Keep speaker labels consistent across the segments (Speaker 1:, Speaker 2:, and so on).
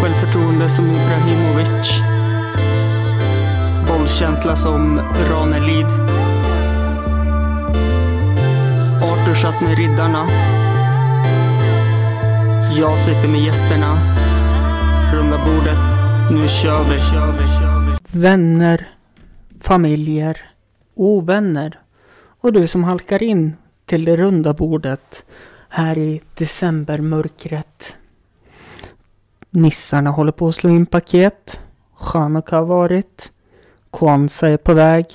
Speaker 1: Bollkunnande som Ibrahimovic. Bollkänsla som Ranelid. Arthur satt med riddarna. Jag sitter med gästerna. Runda bordet. Nu kör vi. Vänner, familjer, ovänner och du som halkar in till det runda bordet här i decembermörkret. Nissarna håller på att slå in paket. Chanukka har varit. Kwanzaa är på väg.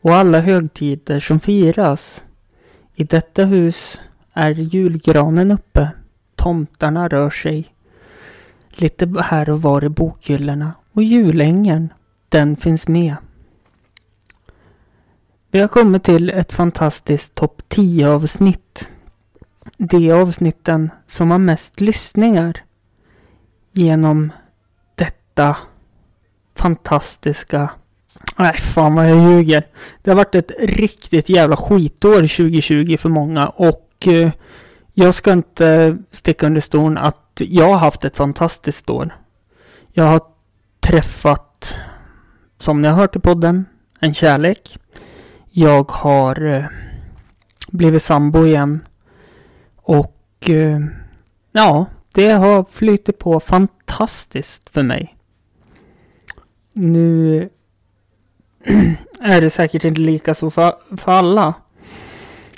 Speaker 1: Och alla högtider som firas. I detta hus är julgranen uppe. Tomtarna rör sig. Lite här och var i bokhyllorna. Och julängen, den finns med. Vi har kommit till ett fantastiskt topp 10 avsnitt. De avsnitten som har mest lyssningar genom detta fantastiska... Nej, fan vad jag ljuger. Det har varit ett riktigt jävla skitår 2020 för många och eh, jag ska inte sticka under stolen att jag har haft ett fantastiskt år. Jag har träffat, som ni har hört i podden, en kärlek. Jag har eh, blivit sambo igen. Och eh, ja, det har flyttat på fantastiskt för mig. Nu är det säkert inte lika så för, för alla.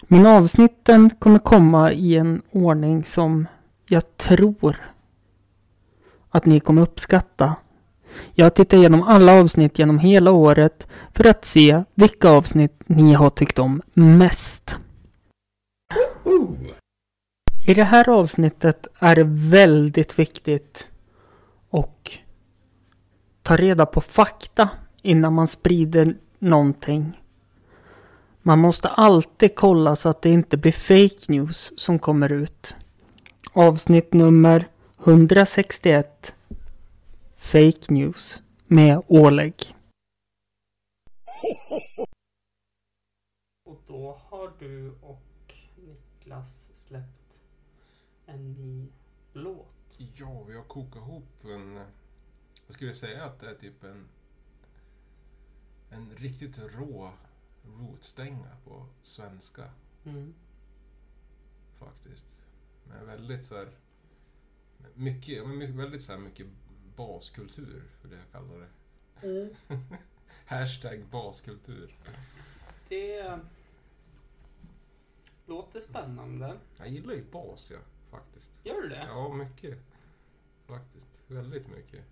Speaker 1: Men avsnitten kommer komma i en ordning som jag tror att ni kommer uppskatta. Jag har tittat igenom alla avsnitt genom hela året för att se vilka avsnitt ni har tyckt om mest. I det här avsnittet är det väldigt viktigt och ta reda på fakta innan man sprider någonting. Man måste alltid kolla så att det inte blir fake news som kommer ut. Avsnitt nummer 161 Fake news med Oleg. Och då har du och Niklas släppt en ny låt.
Speaker 2: Ja, vi har kokat ihop en... Jag skulle säga att det är typ en... En riktigt rå rotstänga på svenska Mm. faktiskt. Med väldigt så här... Mycket, ja, men mycket, väldigt så här mycket baskultur, för det jag kallar det. Hashtag baskultur.
Speaker 1: Det låter spännande.
Speaker 2: Jag gillar ju bas, ja, faktiskt.
Speaker 1: Gör du det?
Speaker 2: Ja, mycket. Faktiskt. Väldigt mycket.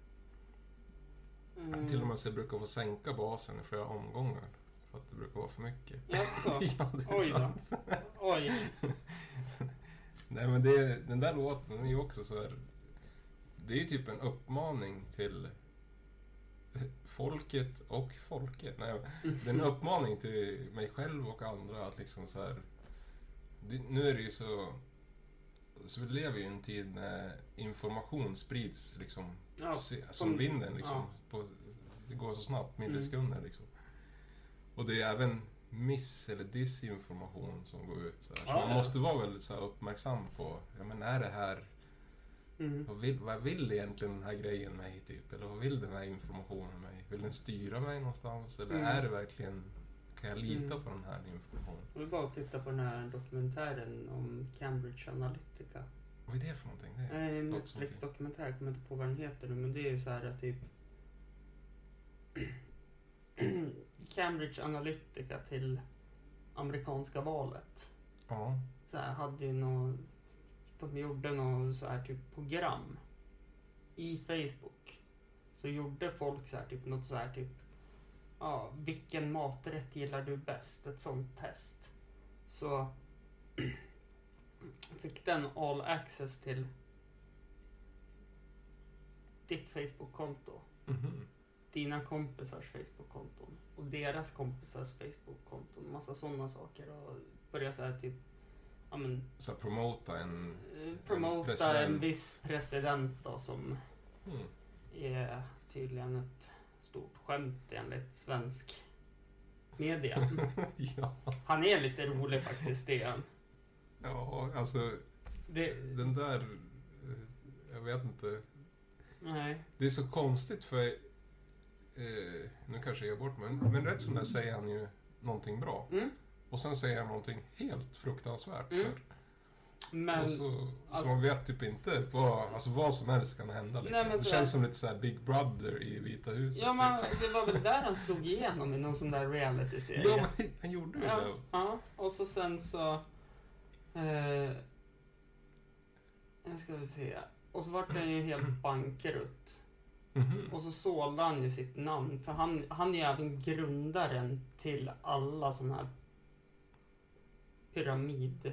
Speaker 1: Mm.
Speaker 2: Till och med så jag brukar få sänka basen i flera omgångar. För att det brukar vara för mycket.
Speaker 1: Jaså?
Speaker 2: ja, det är
Speaker 1: Oj
Speaker 2: sant.
Speaker 1: då. Oj.
Speaker 2: Nej men det, den där låten den är ju också så här. Det är ju typ en uppmaning till folket och folket. Nej, det är en uppmaning till mig själv och andra att liksom så här. Det, nu är det ju så. Så vi lever ju i en tid när information sprids liksom.
Speaker 1: Ja,
Speaker 2: se, som vinden liksom.
Speaker 1: ja.
Speaker 2: På, det går så snabbt,
Speaker 1: Mm.
Speaker 2: millisekunder liksom. Och det är även miss eller disinformation som går ut. Så, här. så
Speaker 1: Ja, ja.
Speaker 2: man måste vara väldigt så här, uppmärksam på, ja men är det här,
Speaker 1: Mm.
Speaker 2: vad vill, vad vill egentligen den här grejen mig typ? Eller vad vill den här informationen mig? Vill den styra mig någonstans? Eller
Speaker 1: Mm.
Speaker 2: är det verkligen, kan jag lita
Speaker 1: Mm.
Speaker 2: på den här informationen?
Speaker 1: Vi bara att titta på den här dokumentären om Cambridge Analytica.
Speaker 2: Vad är det för någonting? Det är,
Speaker 1: Nej, en
Speaker 2: låter som
Speaker 1: Netflix-dokumentär, jag kommer inte på vad den heter nu, men det är ju så här att typ... Cambridge Analytica till amerikanska valet.
Speaker 2: ja.
Speaker 1: Så här, hade ju nå... De gjorde något så här typ program i Facebook. Så gjorde folk så här typ något så här typ... Ja, vilken maträtt gillar du bäst? Ett sånt test. Så fick den all access till ditt Facebook-konto,
Speaker 2: Mhm.
Speaker 1: dina kompisars Facebook-konton och deras kompisars Facebook-konton. Massa sådana saker och börja så här typ, ja men
Speaker 2: Så här, promota en...
Speaker 1: Eh, promota en,
Speaker 2: president.
Speaker 1: viss president då som
Speaker 2: Mm.
Speaker 1: är tydligen ett stort skämt enligt svensk media.
Speaker 2: ja.
Speaker 1: Han är lite rolig faktiskt, det är han.
Speaker 2: ja, alltså
Speaker 1: Det,
Speaker 2: Den där... eh, Jag vet inte.
Speaker 3: Nej.
Speaker 2: Det är så konstigt för... Eh, nu kanske jag ger bort men, men rätt som det är säger han ju någonting bra.
Speaker 3: Mm.
Speaker 2: Och sen säger han någonting helt fruktansvärt.
Speaker 3: Mm.
Speaker 2: för- och
Speaker 3: Men,
Speaker 2: så,
Speaker 3: alltså-
Speaker 2: så man vet typ inte vad, alltså vad som helst kan hända. Liksom.
Speaker 3: Nej, men
Speaker 2: det
Speaker 3: för-
Speaker 2: känns som lite såhär Big Brother i Vita huset.
Speaker 3: ja, men
Speaker 2: typ.
Speaker 3: det var väl där han slog igenom i någon sån där
Speaker 2: ja,
Speaker 3: reality-serie.
Speaker 2: men han gjorde ju
Speaker 3: Ja,
Speaker 2: det.
Speaker 3: ja, och så sen så... Eh, jag ska vi se. Och så vart den ju helt bankrutt.
Speaker 2: Mhm.
Speaker 3: Och så sålde han ju sitt namn, för han, han är ju även grundaren till alla såna här pyramid...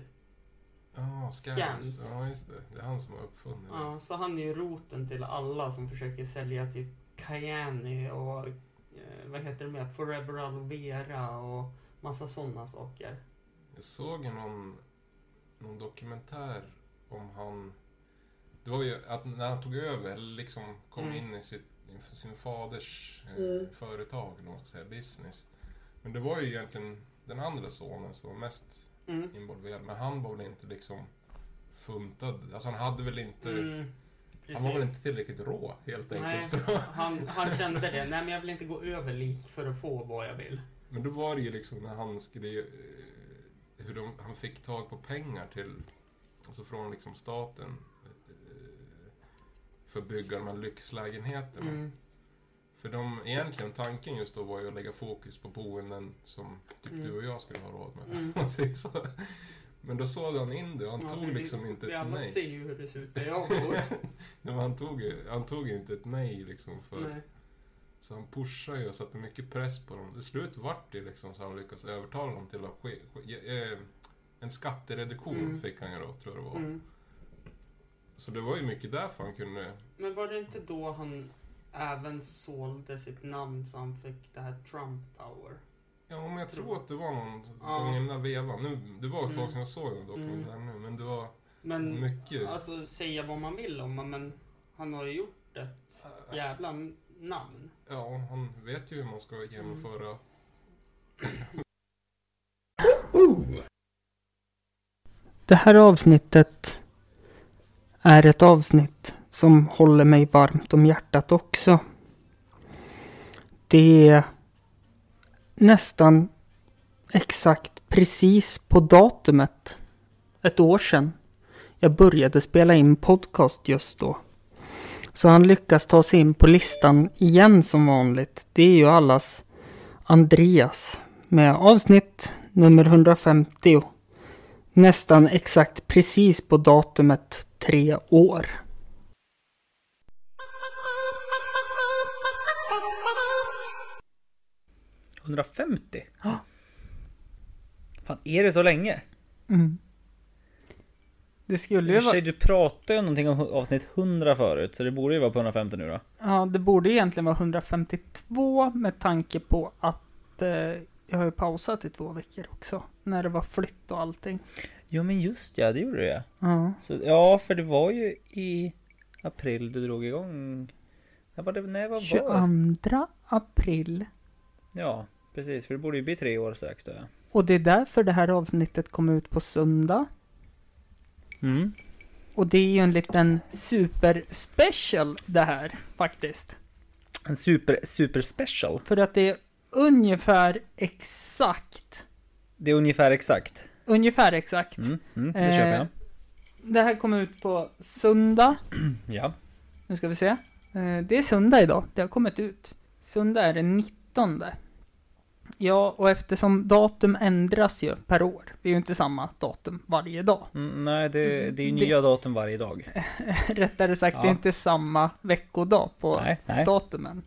Speaker 2: Ja, scams.
Speaker 3: Scams.
Speaker 2: Ja, just det. Det är han som har uppfunnit det.
Speaker 3: Ja, så han är ju roten till alla som försöker sälja typ Cayenne och eh, vad heter det mer? Forever Aloe Vera och massa sådana saker.
Speaker 2: Jag såg ju någon, någon dokumentär om han... Det var ju att när han tog över, eller liksom kom
Speaker 3: Mm.
Speaker 2: in i sitt, i sin faders eh,
Speaker 3: Mm.
Speaker 2: företag, eller vad man ska säga, business. Men det var ju egentligen den andra sonen som var mest
Speaker 3: Mm.
Speaker 2: involverad, men han var väl inte liksom funtad. Alltså han hade väl inte...
Speaker 3: Mm,
Speaker 2: han var väl
Speaker 3: precis.
Speaker 2: inte tillräckligt rå, helt
Speaker 3: Nej,
Speaker 2: enkelt. För att,
Speaker 3: han, han kände det. Nej, men jag vill inte gå över lik för att få vad jag vill.
Speaker 2: men då var det ju liksom när han skrev... eh, Hur de, han fick tag på pengar till... Alltså från liksom staten. eh, För att bygga de här lyxlägenheterna.
Speaker 3: Mm.
Speaker 2: För de, egentligen tanken just då var ju att lägga fokus på boenden som typ
Speaker 3: Mm.
Speaker 2: du och jag skulle ha råd med.
Speaker 3: Mm.
Speaker 2: om man säger så. Men då sålde han in det och han
Speaker 3: Ja,
Speaker 2: tog
Speaker 3: men
Speaker 2: liksom inte
Speaker 3: Vi
Speaker 2: ett
Speaker 3: alla
Speaker 2: nej.
Speaker 3: ser ju hur det ser ut där jag bor.
Speaker 2: Nej, men han tog ju han tog ju inte ett nej liksom. För,
Speaker 3: Nej.
Speaker 2: Så han pushade ju och satte mycket press på dem. Till slut vart det liksom så han lyckades övertala dem till att ske, ske, ge- eh, En skattereduktion
Speaker 3: Mm.
Speaker 2: fick han ju då, tror jag det var.
Speaker 3: Mm.
Speaker 2: Så det var ju mycket därför han kunde...
Speaker 3: Men var det inte då han även sålde sitt namn så han fick det här Trump Tower?
Speaker 2: Ja, men jag
Speaker 3: Tror-
Speaker 2: tror att det var någon
Speaker 3: Ja.
Speaker 2: gång i den där vevan. Nu, det var ett
Speaker 3: Mm.
Speaker 2: tag sedan jag såg den dokumentären nu, men det var
Speaker 3: Men
Speaker 2: mycket...
Speaker 3: Alltså säga vad man vill om honom, men han har ju gjort ett jävla namn.
Speaker 2: Ja, han vet ju hur man
Speaker 3: Mm.
Speaker 2: ska genomföra...
Speaker 1: Det här avsnittet är ett avsnitt som håller mig varmt om hjärtat också. Det är nästan exakt precis på datumet ett år sedan jag började spela in podcast just då. Så han lyckas ta sig in på listan igen som vanligt. Det är ju allas Andreas med avsnitt nummer 150 nästan exakt precis på datumet tre år.
Speaker 4: Thank you.
Speaker 5: 150? Fan, är det så länge?
Speaker 1: Mm. Det
Speaker 5: I
Speaker 1: skulle
Speaker 5: och för
Speaker 1: ju
Speaker 5: sig,
Speaker 1: vara...
Speaker 5: du pratade ju någonting om hu- avsnitt 100 förut, så det borde ju vara på 150 nu då.
Speaker 1: Ja, det borde egentligen vara 152 med tanke på att eh, jag har ju pausat i två veckor också. När det var flytt och allting.
Speaker 5: Ja men just ja, det gjorde du ja.
Speaker 1: Ja.
Speaker 5: Så, ja, för det var ju i april du drog igång. När var det? När var var?
Speaker 1: 22 april.
Speaker 5: Ja, precis. För det borde ju bli tre år strax då ja.
Speaker 1: Och det är därför det här avsnittet kom ut på söndag.
Speaker 5: Mm.
Speaker 1: Och det är ju en liten superspecial det här faktiskt.
Speaker 5: En super, super special.
Speaker 1: För att det är ungefär exakt,
Speaker 5: Det är ungefär exakt.
Speaker 1: ungefär exakt.
Speaker 5: Mm, mm, det köper
Speaker 1: Eh,
Speaker 5: jag.
Speaker 1: Det här kommer ut på söndag.
Speaker 5: Ja.
Speaker 1: Nu ska vi se. Eh, Det är söndag idag. Det har kommit ut. Söndag är den 19. Ja, och eftersom datum ändras ju per år. Det är ju inte samma datum varje dag.
Speaker 5: Mm, nej, det, det är ju
Speaker 1: Det-
Speaker 5: nya datum varje dag.
Speaker 1: Rättare sagt, det är
Speaker 5: Ja.
Speaker 1: inte samma veckodag på
Speaker 5: Nej, nej.
Speaker 1: datumen.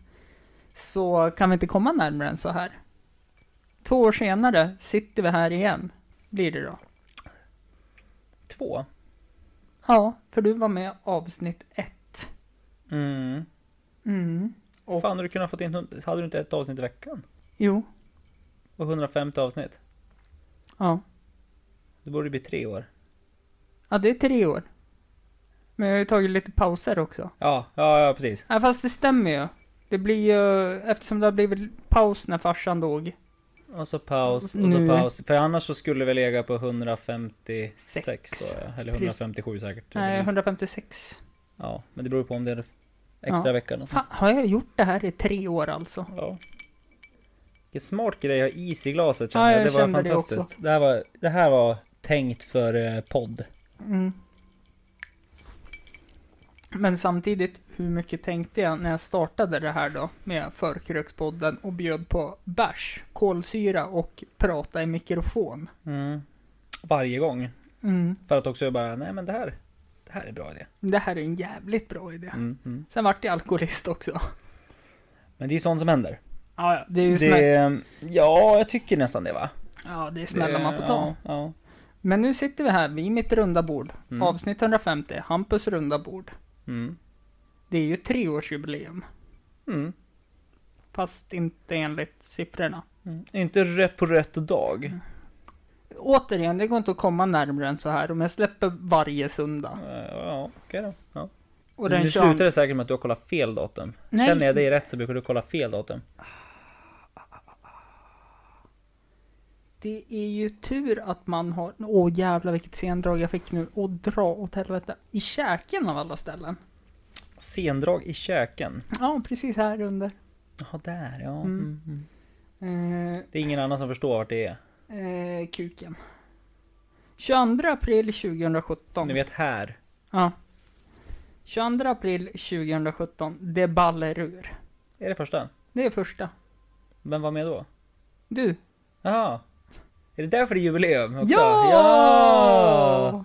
Speaker 1: Så kan vi inte komma närmare än så här. Två år senare sitter vi här igen. Blir det då.
Speaker 5: Två.
Speaker 1: Ja, för du var med avsnitt ett.
Speaker 5: Mm.
Speaker 1: Mm. Och-
Speaker 5: Fan, hade du kunnat fått in, hund- hade du inte ett avsnitt i veckan?
Speaker 1: Jo,
Speaker 5: Och 150 avsnitt?
Speaker 1: ja.
Speaker 5: Det borde bli tre år.
Speaker 1: Ja, det är tre år. Men jag har ju tagit lite pauser också.
Speaker 5: Ja, ja, ja precis.
Speaker 1: Ja, fast det stämmer ju. Det blir ju, eftersom det har blivit paus när farsan dog.
Speaker 5: Och så paus, och
Speaker 1: Nu.
Speaker 5: så paus. För annars så skulle vi lägga på 156
Speaker 1: Sex.
Speaker 5: då, ja. Eller 157 säkert.
Speaker 1: Nej, 156.
Speaker 5: Ja, men det beror på om det är Extra
Speaker 1: Ja.
Speaker 5: veckan.
Speaker 1: Fan, har jag gjort det här i tre år alltså?
Speaker 5: Ja. Vilken smart grej att ha is i glaset känner
Speaker 1: Ja,
Speaker 5: jag.
Speaker 1: jag
Speaker 5: Det var
Speaker 1: kände det
Speaker 5: fantastiskt.
Speaker 1: också.
Speaker 5: Det, här var, det här var tänkt för eh, podd.
Speaker 1: Mm. Men samtidigt, hur mycket tänkte jag när jag startade det här då med förkrökspodden och bjöd på bärs, kolsyra och prata i mikrofon?
Speaker 5: Varje gång.
Speaker 1: Mm.
Speaker 5: För att också bara, nej men det här, det här är bra idé.
Speaker 1: Det här är en jävligt bra idé.
Speaker 5: Mm. Mm.
Speaker 1: Sen vart jag alkoholist också.
Speaker 5: Men det är sånt som händer.
Speaker 1: Ja, ja, det är ju smä-
Speaker 5: Det, ja, jag tycker nästan det va?
Speaker 1: ja, det är smällar
Speaker 5: Det-
Speaker 1: man får ta.
Speaker 5: Ja, ja.
Speaker 1: Men nu sitter vi här vid mitt runda bord.
Speaker 5: Mm.
Speaker 1: Avsnitt 150, Hampus runda bord.
Speaker 5: Mm.
Speaker 1: Det är ju treårsjubileum,
Speaker 5: Mm.
Speaker 1: fast inte enligt siffrorna. Mm.
Speaker 5: Mm. Inte rätt på rätt dag.
Speaker 1: Återigen, det går inte att komma närmare än så här om jag släpper varje söndag.
Speaker 5: Eh, Ja, okej då. Ja.
Speaker 1: Och
Speaker 5: Men
Speaker 1: den
Speaker 5: nu
Speaker 1: tjugo-
Speaker 5: slutar det säkert med att du har kollat fel datum.
Speaker 1: Nej.
Speaker 5: Känner jag dig rätt så brukar du kolla fel datum.
Speaker 1: Det är ju tur att man har... Åh jävlar vilket sendrag jag fick nu. Och dra åt helvete. I käken av alla ställen.
Speaker 5: Sendrag i käken.
Speaker 1: Ja, precis här under.
Speaker 5: Jaha, där ja.
Speaker 1: Mm.
Speaker 5: Mm. Mm.
Speaker 1: Eh,
Speaker 5: Det är ingen annan som förstår vart det är.
Speaker 1: eh, kuken. 22 april 2017.
Speaker 5: Ni vet här.
Speaker 1: Ja. 22 april 2017. Det baller ur.
Speaker 5: Är det första?
Speaker 1: Det är första.
Speaker 5: Vem var med då?
Speaker 1: Du.
Speaker 5: Jaha. Är det därför det är jubileum också?
Speaker 1: Ja!
Speaker 5: ja!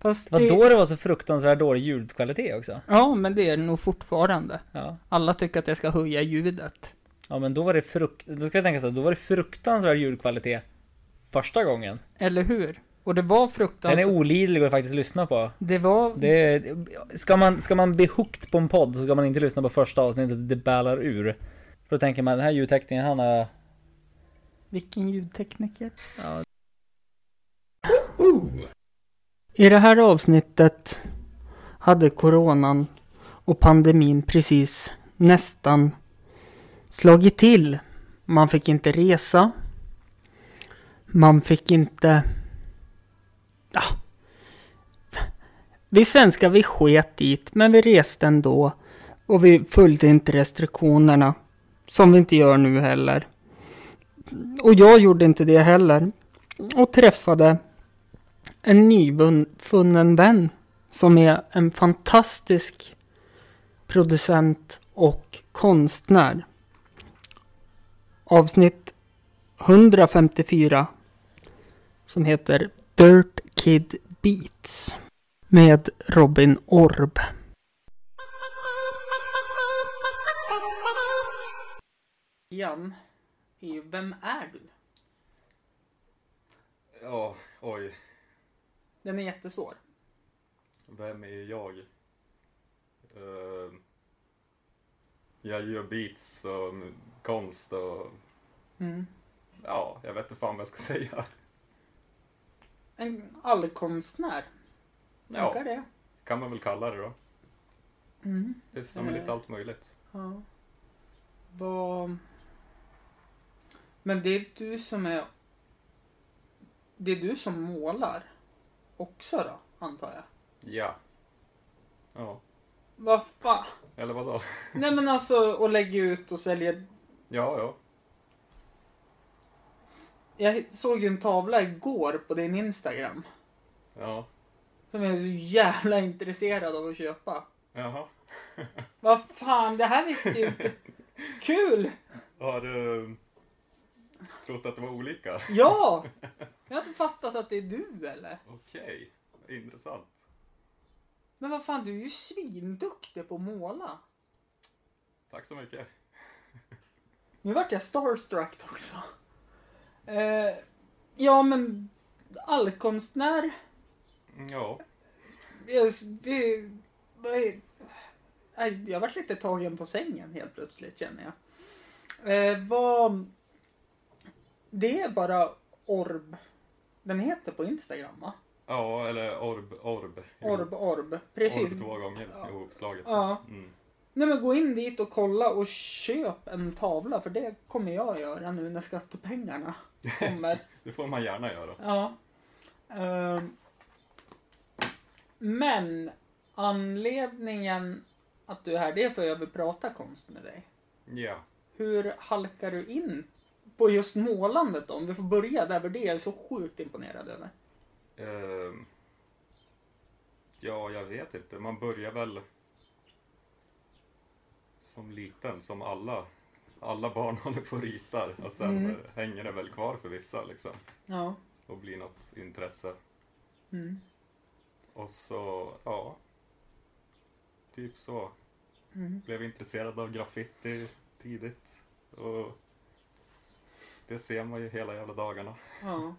Speaker 1: Fast
Speaker 5: Det var
Speaker 1: det...
Speaker 5: då det var så fruktansvärt dålig ljudkvalitet också.
Speaker 1: Ja, men det är det nog fortfarande.
Speaker 5: Ja.
Speaker 1: Alla tycker att jag ska höja ljudet.
Speaker 5: Ja men då var det frukt... Då ska jag tänka så här, då var det fruktansvärd ljudkvalitet första gången.
Speaker 1: Eller hur? Och det var
Speaker 5: Den
Speaker 1: fruktansvärt.
Speaker 5: är olidlig att faktiskt lyssna på.
Speaker 1: det var...
Speaker 5: Det är, ska, man, ska man bli hooked på en podd så ska man inte lyssna på första avsnittet, det ballar ur. För då tänker man, den här ljudtäckningen han har...
Speaker 1: Vilken ljudtekniker.
Speaker 5: Ja.
Speaker 1: I det här avsnittet hade coronan och pandemin precis nästan slagit till. Man fick inte resa. Man fick inte... Ja. Vi svenskar vi sket dit, men vi reste ändå. Och vi följde inte restriktionerna. Som vi inte gör nu heller. Och jag gjorde inte det heller. Och träffade en nyfunnen vän som är en fantastisk producent och konstnär. Avsnitt 154 som heter Dirt Kid Beats med Robin Orb. Jan, vem är du?
Speaker 6: Ja, oj.
Speaker 1: Den är jättesvår.
Speaker 6: Vem är jag? Eh, jag gör beats och m- konst och
Speaker 1: Mm.
Speaker 6: ja, jag vet inte fan vad jag ska säga.
Speaker 1: En allkonstnär.
Speaker 6: Ja.
Speaker 1: Funkar det?
Speaker 6: Kan man väl kalla det då. Pysslar med
Speaker 1: Eh.
Speaker 6: lite allt möjligt.
Speaker 1: Ja. Vad... Men det är du som är... Det är du som målar också då, antar jag?
Speaker 6: Ja. Ja,
Speaker 1: Vad fan?
Speaker 6: eller vadå?
Speaker 1: Nej men alltså, och lägger ut och säljer...
Speaker 6: Ja, ja.
Speaker 1: Jag såg ju en tavla igår på din Instagram.
Speaker 6: Ja.
Speaker 1: Som jag är så jävla intresserad av att köpa.
Speaker 6: Jaha.
Speaker 1: Vad fan, det här visste jag inte. Kul!
Speaker 6: Har du trott att det var olika?
Speaker 1: Ja! Jag har inte fattat att det är du eller?
Speaker 6: Okej, intressant.
Speaker 1: Men vad fan, du är ju svinduktig på att måla.
Speaker 6: Tack så mycket.
Speaker 1: Nu vart jag starstruck också. Eh, ja, men allkonstnär.
Speaker 6: Ja,
Speaker 1: Jag, vi, vi, nej, jag vart lite tagen på sängen helt plötsligt känner jag. Eh, vad, det är bara Orb. Den heter på Instagram va?
Speaker 6: ja eller orb, orb.
Speaker 1: Orb, Orb. Precis.
Speaker 6: Orb två gånger
Speaker 1: Ja.
Speaker 6: ihopslaget.
Speaker 1: Ja.
Speaker 6: Mm.
Speaker 1: Nej men gå in dit och kolla och köp en tavla för det kommer jag göra nu när skattepengarna kommer.
Speaker 6: Det får man gärna göra.
Speaker 1: Ja. Ehm, men anledningen att du är här, det är för att jag vill prata konst med dig.
Speaker 6: Ja.
Speaker 1: Hur halkar du in på just målandet då? Om vi får börja där, för det är jag så sjukt imponerad över.
Speaker 6: Ehm, ja, jag vet inte. Man börjar väl som liten, som alla. Alla barn håller på och ritar och sen
Speaker 1: Mm.
Speaker 6: eh, hänger det väl kvar för vissa liksom.
Speaker 1: Ja.
Speaker 6: Och blir något intresse.
Speaker 1: Mm.
Speaker 6: Och så, ja. Typ så.
Speaker 1: Mm.
Speaker 6: Blev intresserad av graffiti tidigt. Och det ser man ju hela jävla dagarna.
Speaker 1: Ja.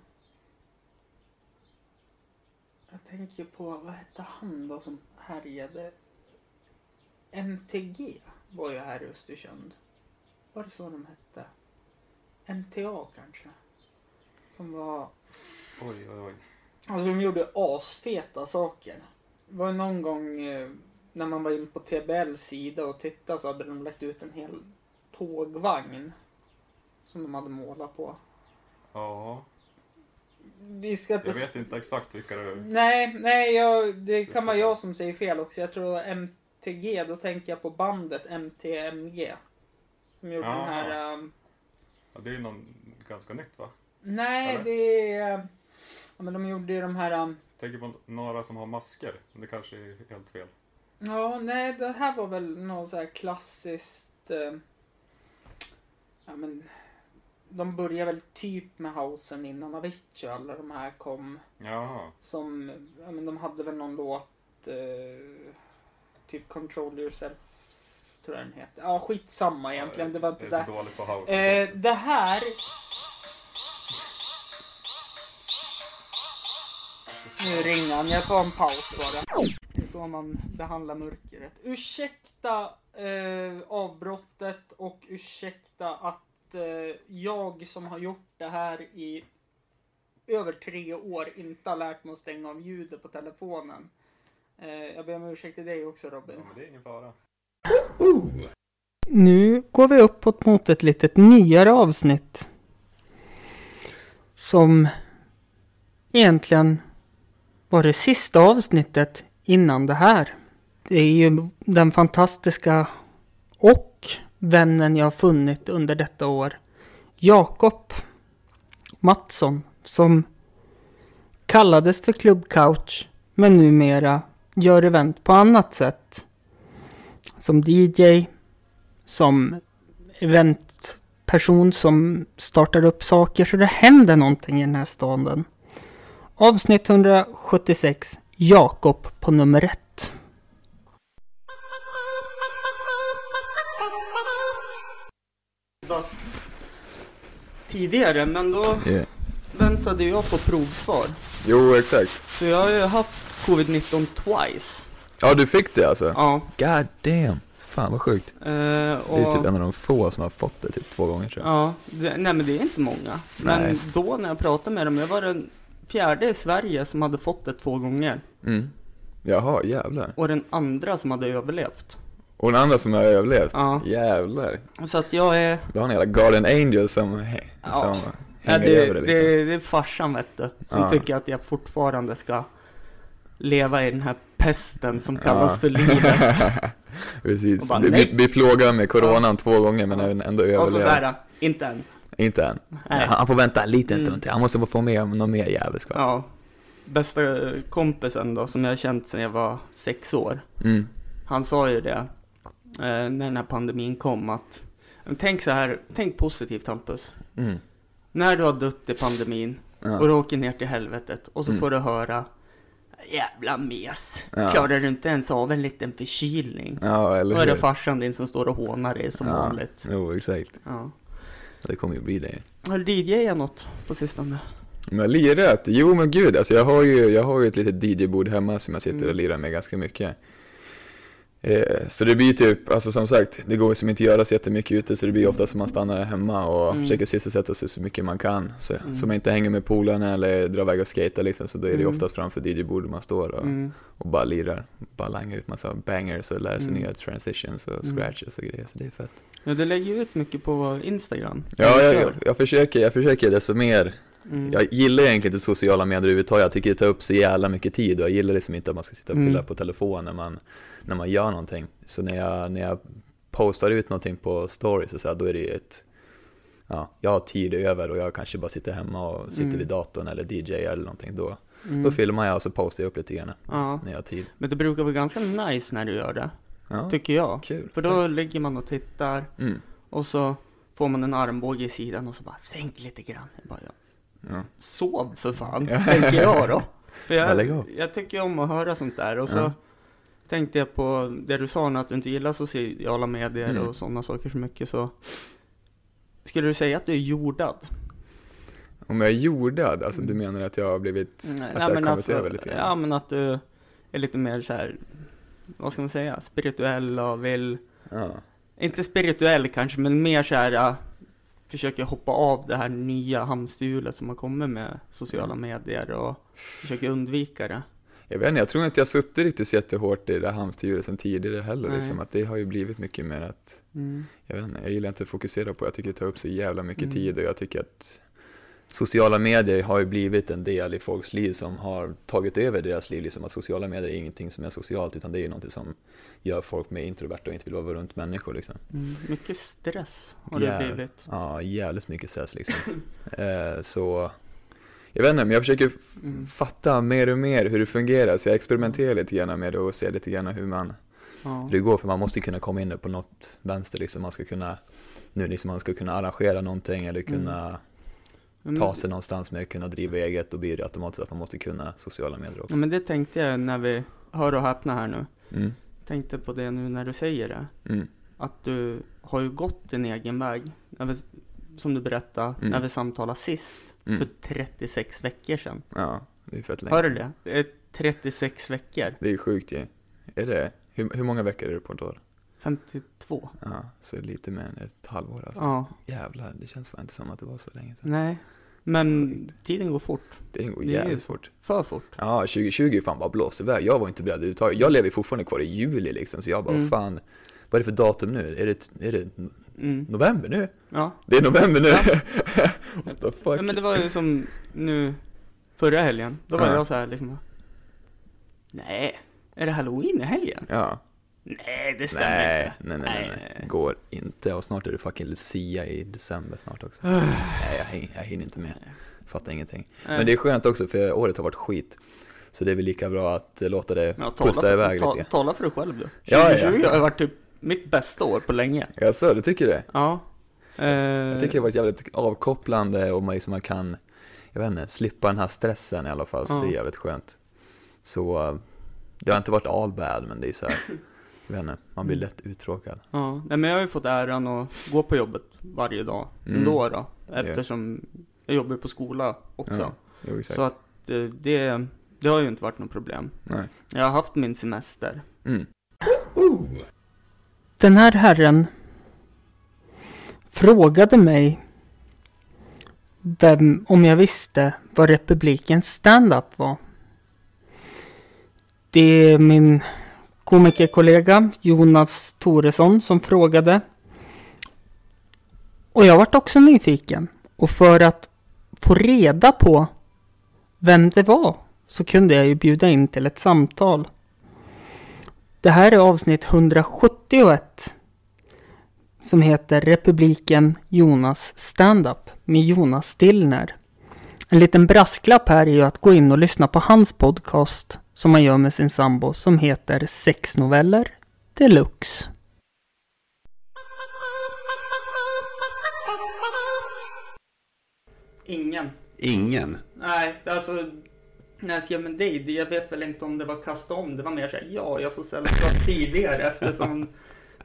Speaker 1: Jag tänker på, vad hette han då som härjade? MTG var ju här i Östersund. Var det så de hette? MTA kanske? Som var...
Speaker 6: Oj, oj, oj.
Speaker 1: Alltså de gjorde asfeta saker. Det var ju någon gång eh, när man var inne på TBLs sida och tittade så hade de lagt ut en hel tågvagn. Som de hade målat på.
Speaker 6: Ja,
Speaker 1: Vi ska inte
Speaker 6: jag vet inte exakt vilka det är.
Speaker 1: Nej, nej, jag, det
Speaker 6: Syftar
Speaker 1: kan vara
Speaker 6: på.
Speaker 1: jag som säger fel också. Jag tror MTG, då tänker jag på bandet MTMG. Som gjorde
Speaker 6: Jaha.
Speaker 1: den här... ehm,
Speaker 6: Ja, det är ju någon ganska nytt va?
Speaker 1: nej,
Speaker 6: Eller?
Speaker 1: det är... ehm, Ja, men de gjorde ju de här... ehm,
Speaker 6: Tänker på några som har masker. Men det kanske är helt fel.
Speaker 1: ja, nej, det här var väl något så här klassiskt... ehm, ja, men... De började väl typ med housen innan Avicii och alla de här kom.
Speaker 6: Jaha.
Speaker 1: Som, ja men de hade väl någon låt, eh, typ Control Yourself, tror jag den heter. Ja, skitsamma egentligen, det var inte
Speaker 6: Jag är
Speaker 1: det.
Speaker 6: så dålig på house.
Speaker 1: Eh, det här, nu ringer han, jag tar en paus bara. Det är så man behandlar mörkret. Ursäkta eh, avbrottet och ursäkta att eh, jag som har gjort det här i över tre år inte har lärt mig att stänga av ljudet på telefonen. Eh, jag ber om ursäkt till dig också
Speaker 6: Ja,
Speaker 1: Robin.
Speaker 6: men det är ingen fara.
Speaker 7: Nu går vi uppåt mot ett litet nyare avsnitt. Som egentligen var det sista avsnittet innan det här. Det är ju den fantastiska och vännen jag har funnit under detta år. Jakob Mattsson som kallades för Club Couch men numera gör event på annat sätt. Som DJ, som eventperson som startar upp saker så det händer någonting i den här staden. Avsnitt 176, Jakob på nummer ett.
Speaker 1: Tidigare, men då
Speaker 8: Yeah.
Speaker 1: väntade jag på provsvar.
Speaker 8: Jo, exakt.
Speaker 1: Så jag har ju haft covid-19 twice.
Speaker 8: Ja, du fick det alltså?
Speaker 1: Ja.
Speaker 8: God damn. Fan vad sjukt.
Speaker 1: eh,
Speaker 8: Det är
Speaker 1: och,
Speaker 8: typ en av de få som har fått det typ två gånger tror jag.
Speaker 1: ja, det, nej men det är inte många. Men
Speaker 8: Nej.
Speaker 1: då när jag pratade med dem, jag var den fjärde i Sverige som hade fått det två gånger.
Speaker 8: Mm. Jaha, jävlar.
Speaker 1: Och den andra som hade överlevt.
Speaker 8: Och den andra som har överlevt?
Speaker 1: Ja.
Speaker 8: Jävlar.
Speaker 1: Så att jag är...
Speaker 8: Du har en jävla Guardian Angel som, hä-
Speaker 1: Ja.
Speaker 8: som
Speaker 1: Ja,
Speaker 8: hänger
Speaker 1: det,
Speaker 8: över dig liksom.
Speaker 1: det, det är farsan vet du, som
Speaker 8: Ja.
Speaker 1: tycker att jag fortfarande ska leva i den här pesten som kallas
Speaker 8: Ja.
Speaker 1: för livet. Och
Speaker 8: Precis.
Speaker 1: bara,
Speaker 8: Bli,
Speaker 1: nej.
Speaker 8: bli, bli plågad med coronan två gånger men även ändå
Speaker 1: och så, så
Speaker 8: överleva.
Speaker 1: här, inte än.
Speaker 8: Inte än.
Speaker 1: Nej.
Speaker 8: Han får vänta en liten
Speaker 1: Mm.
Speaker 8: stund till. Han måste få med om någon mer jävelskap.
Speaker 1: Ja. Bästa eh, kompisen då, som jag har känt sedan jag var sex år.
Speaker 8: Mm.
Speaker 1: Han sa ju det eh, när den här pandemin kom att "Men Tänk så här, tänk positivt Hampus.
Speaker 8: Mm.
Speaker 1: När du har dött i pandemin och
Speaker 8: Ja.
Speaker 1: du åker ner till helvetet och så
Speaker 8: Mm.
Speaker 1: får du höra Jävla mes!
Speaker 8: Ja.
Speaker 1: Klarar du inte ens av en liten förkylning?
Speaker 8: ja, eller
Speaker 1: Då är det
Speaker 8: hur?
Speaker 1: farsan din som står och hånar dig som
Speaker 8: Ja.
Speaker 1: vanligt.
Speaker 8: Jo, exakt.
Speaker 1: Ja.
Speaker 8: Det kommer ju bli det.
Speaker 1: Har du DJat något på sistone?
Speaker 8: Men jag har lirat? Jo men gud, alltså jag har ju, jag har ju ett litet DJ-bord hemma som jag sitter
Speaker 1: Mm.
Speaker 8: och lirar med ganska mycket. Eh, så det blir typ, alltså som sagt, det går ju som inte att göra så jättemycket ute så det blir ofta som man stannar hemma och
Speaker 1: Mm.
Speaker 8: försöker sysselsätta sig så mycket man kan. Så,
Speaker 1: Mm.
Speaker 8: så man inte hänger med polarna eller drar iväg och skejtar liksom, så då är det ju
Speaker 1: Mm.
Speaker 8: oftast framför DJ-bordet man står och,
Speaker 1: Mm.
Speaker 8: och bara lirar. Bara langar ut massa bangers och lär sig
Speaker 1: Mm.
Speaker 8: nya transitions och
Speaker 1: Mm.
Speaker 8: scratches och grejer, så det är fett.
Speaker 1: Ja, du lägger ju ut mycket på Instagram.
Speaker 8: Ja,
Speaker 1: Eller
Speaker 8: jag,
Speaker 1: kör.
Speaker 8: jag, jag, försöker, jag försöker desto mer
Speaker 1: Mm.
Speaker 8: Jag gillar egentligen inte sociala medier överhuvudtaget. Jag tycker det tar upp så jävla mycket tid och jag gillar liksom inte att man ska sitta och
Speaker 1: Mm.
Speaker 8: pilla på telefon när man, när man gör någonting. Så när jag, när jag postar ut någonting på stories och så här, då är det ju ett... Ja, jag har tid över och jag kanske bara sitter hemma och sitter
Speaker 1: Mm.
Speaker 8: vid datorn eller DJ eller någonting. Då,
Speaker 1: Mm.
Speaker 8: då filmar jag och så postar jag upp lite grann
Speaker 1: Ja,
Speaker 8: när jag har tid.
Speaker 1: men det brukar vara ganska nice när du gör det,
Speaker 8: Ja,
Speaker 1: tycker jag.
Speaker 8: kul.
Speaker 1: För då ligger man och tittar
Speaker 8: Mm.
Speaker 1: och så får man en armbåge i sidan och så bara sänk lite grann. Jag bara, ja.
Speaker 8: Ja.
Speaker 1: Sov för fan,
Speaker 8: Ja.
Speaker 1: tänker jag då. För
Speaker 8: Bara
Speaker 1: jag,
Speaker 8: lägg av.
Speaker 1: jag tycker om att höra sånt där och så
Speaker 8: Ja.
Speaker 1: tänkte jag på det du sa nu att du inte gillar sociala medier
Speaker 8: Mm.
Speaker 1: och sådana saker så mycket så skulle du säga att du är jordad?
Speaker 8: Om jag är jordad, alltså du
Speaker 1: Mm.
Speaker 8: menar att jag har blivit, att jag har kommit
Speaker 1: alltså,
Speaker 8: över lite grann?
Speaker 1: Ja men att du är lite mer så här, vad ska man säga, spirituell och vill,
Speaker 8: Ja.
Speaker 1: inte spirituell kanske men mer så här äh, försöker hoppa av det här nya hamsterhjulet som har kommit med sociala medier och försöker undvika det.
Speaker 8: Jag vet inte, jag tror inte jag suttit riktigt så jättehårt i det där hamsterhjulet sen tidigare heller.
Speaker 1: Nej.
Speaker 8: Liksom, att det har ju blivit mycket mer att, jag vet inte, jag gillar inte att fokusera på det. Jag tycker det tar upp så jävla mycket
Speaker 1: Mm.
Speaker 8: tid och jag tycker att sociala medier har ju blivit en del i folks liv som har tagit över deras liv. Liksom att sociala medier är ingenting som är socialt utan det är ju någonting som gör folk mer introverta och inte vill vara runt människor. Liksom.
Speaker 1: Mycket stress har det
Speaker 8: Jävlar.
Speaker 1: blivit.
Speaker 8: Ja, jävligt mycket stress liksom. eh, så, jag vet inte, men jag försöker f-
Speaker 1: Mm.
Speaker 8: fatta mer och mer hur det fungerar. Så jag experimenterar lite grann med det och ser lite grann hur man,
Speaker 1: Ja.
Speaker 8: hur det går. För man måste ju kunna komma in på något vänster liksom. Man ska kunna, nu liksom man ska kunna arrangera någonting eller kunna
Speaker 1: Mm. Men-
Speaker 8: ta sig någonstans med att kunna driva eget. Då blir det automatiskt att man måste kunna sociala medier
Speaker 1: Ja,
Speaker 8: också.
Speaker 1: men det tänkte jag när vi, hör och häpna här nu,
Speaker 8: Mm,
Speaker 1: tänkte på det nu när du säger det.
Speaker 8: mm,
Speaker 1: Att du har ju gått din egen väg, när vi, som du berättade,
Speaker 8: Mm.
Speaker 1: när vi samtalade sist,
Speaker 8: mm.
Speaker 1: för 36 veckor sedan.
Speaker 8: Ja, det är fett länge.
Speaker 1: Hör Mm. du det? det är 36 veckor,
Speaker 8: Det är sjukt ju. Är det, hur, hur många veckor är det på ett år?
Speaker 1: 52.
Speaker 8: Ja, så lite mer än ett halvår alltså.
Speaker 1: Ja,
Speaker 8: Jävlar, det känns fan inte som att det var så länge sedan.
Speaker 1: nej. Men
Speaker 8: Sjukt.
Speaker 1: tiden går fort,
Speaker 8: Det går
Speaker 1: Det är ju
Speaker 8: jävligt
Speaker 1: så.
Speaker 8: fort.
Speaker 1: för fort.
Speaker 8: Ja, 2020 fan bara blåst iväg. Jag var inte beredd överhuvudtaget. Jag lever fortfarande kvar i juli liksom, så jag bara
Speaker 1: Mm.
Speaker 8: fan, vad är det för datum nu? Är det, är det
Speaker 1: Mm.
Speaker 8: november nu?
Speaker 1: Ja.
Speaker 8: Det är november nu!
Speaker 1: Ja.
Speaker 8: What the fuck?
Speaker 1: ja, men det var ju som nu förra helgen, då var
Speaker 8: Ja.
Speaker 1: jag så här liksom Nej, är det halloween i helgen?
Speaker 8: Ja.
Speaker 1: Nej, det stämmer
Speaker 8: Nej,
Speaker 1: inte.
Speaker 8: nej, nej, nej, nej. Går inte. Och snart är det fucking Lucia i december snart också. Nej, jag, hin- jag hinner inte med. Fattar ingenting. Men det är skönt också, för året har varit skit. Så det är väl lika bra att eh, låta det
Speaker 1: Men jag talar
Speaker 8: kosta
Speaker 1: för,
Speaker 8: iväg
Speaker 1: ta,
Speaker 8: lite grann.
Speaker 1: Tala för dig själv du.
Speaker 8: Ja, ja.
Speaker 1: 2020 har varit typ mitt bästa år på länge.
Speaker 8: Jaså, du tycker det?
Speaker 1: Ja. Eh,
Speaker 8: Jag tycker det har varit jävligt avkopplande och man, liksom, man kan, jag vet inte, slippa den här stressen i alla fall, så
Speaker 1: Ja.
Speaker 8: det är jävligt skönt. Så eh, det har inte varit all bad, men det är så här, jag vet inte, man blir
Speaker 1: Mm.
Speaker 8: lätt uttråkad.
Speaker 1: Ja, nej, men jag har ju fått äran att gå på jobbet varje dag
Speaker 8: Mm.
Speaker 1: ändå då. Eftersom jag jobbar på skola också.
Speaker 8: Ja, jo, exakt.
Speaker 1: så att eh, det, det har ju inte varit något problem.
Speaker 8: Nej.
Speaker 1: Jag har haft min semester.
Speaker 8: Mm.
Speaker 1: Den här herren frågade mig vem, om jag visste vad republikens stand-up var. Det är min komikerkollega Jonas Toresson som frågade. Och jag vart också nyfiken. Och för att få reda på vem det var så kunde jag ju bjuda in till ett samtal. Det här är avsnitt 171 som heter Republiken Jonas Standup med Jonas Stillner. En liten brasklapp här är ju att gå in och lyssna på hans podcast som han gör med sin sambo som heter Sexnoveller Deluxe. Ingen.
Speaker 9: Ingen.
Speaker 1: Nej, alltså när jag skrev med dig, det- jag vet väl inte om det var kasta om, det var mer såhär ja, jag får sällskap tidigare eftersom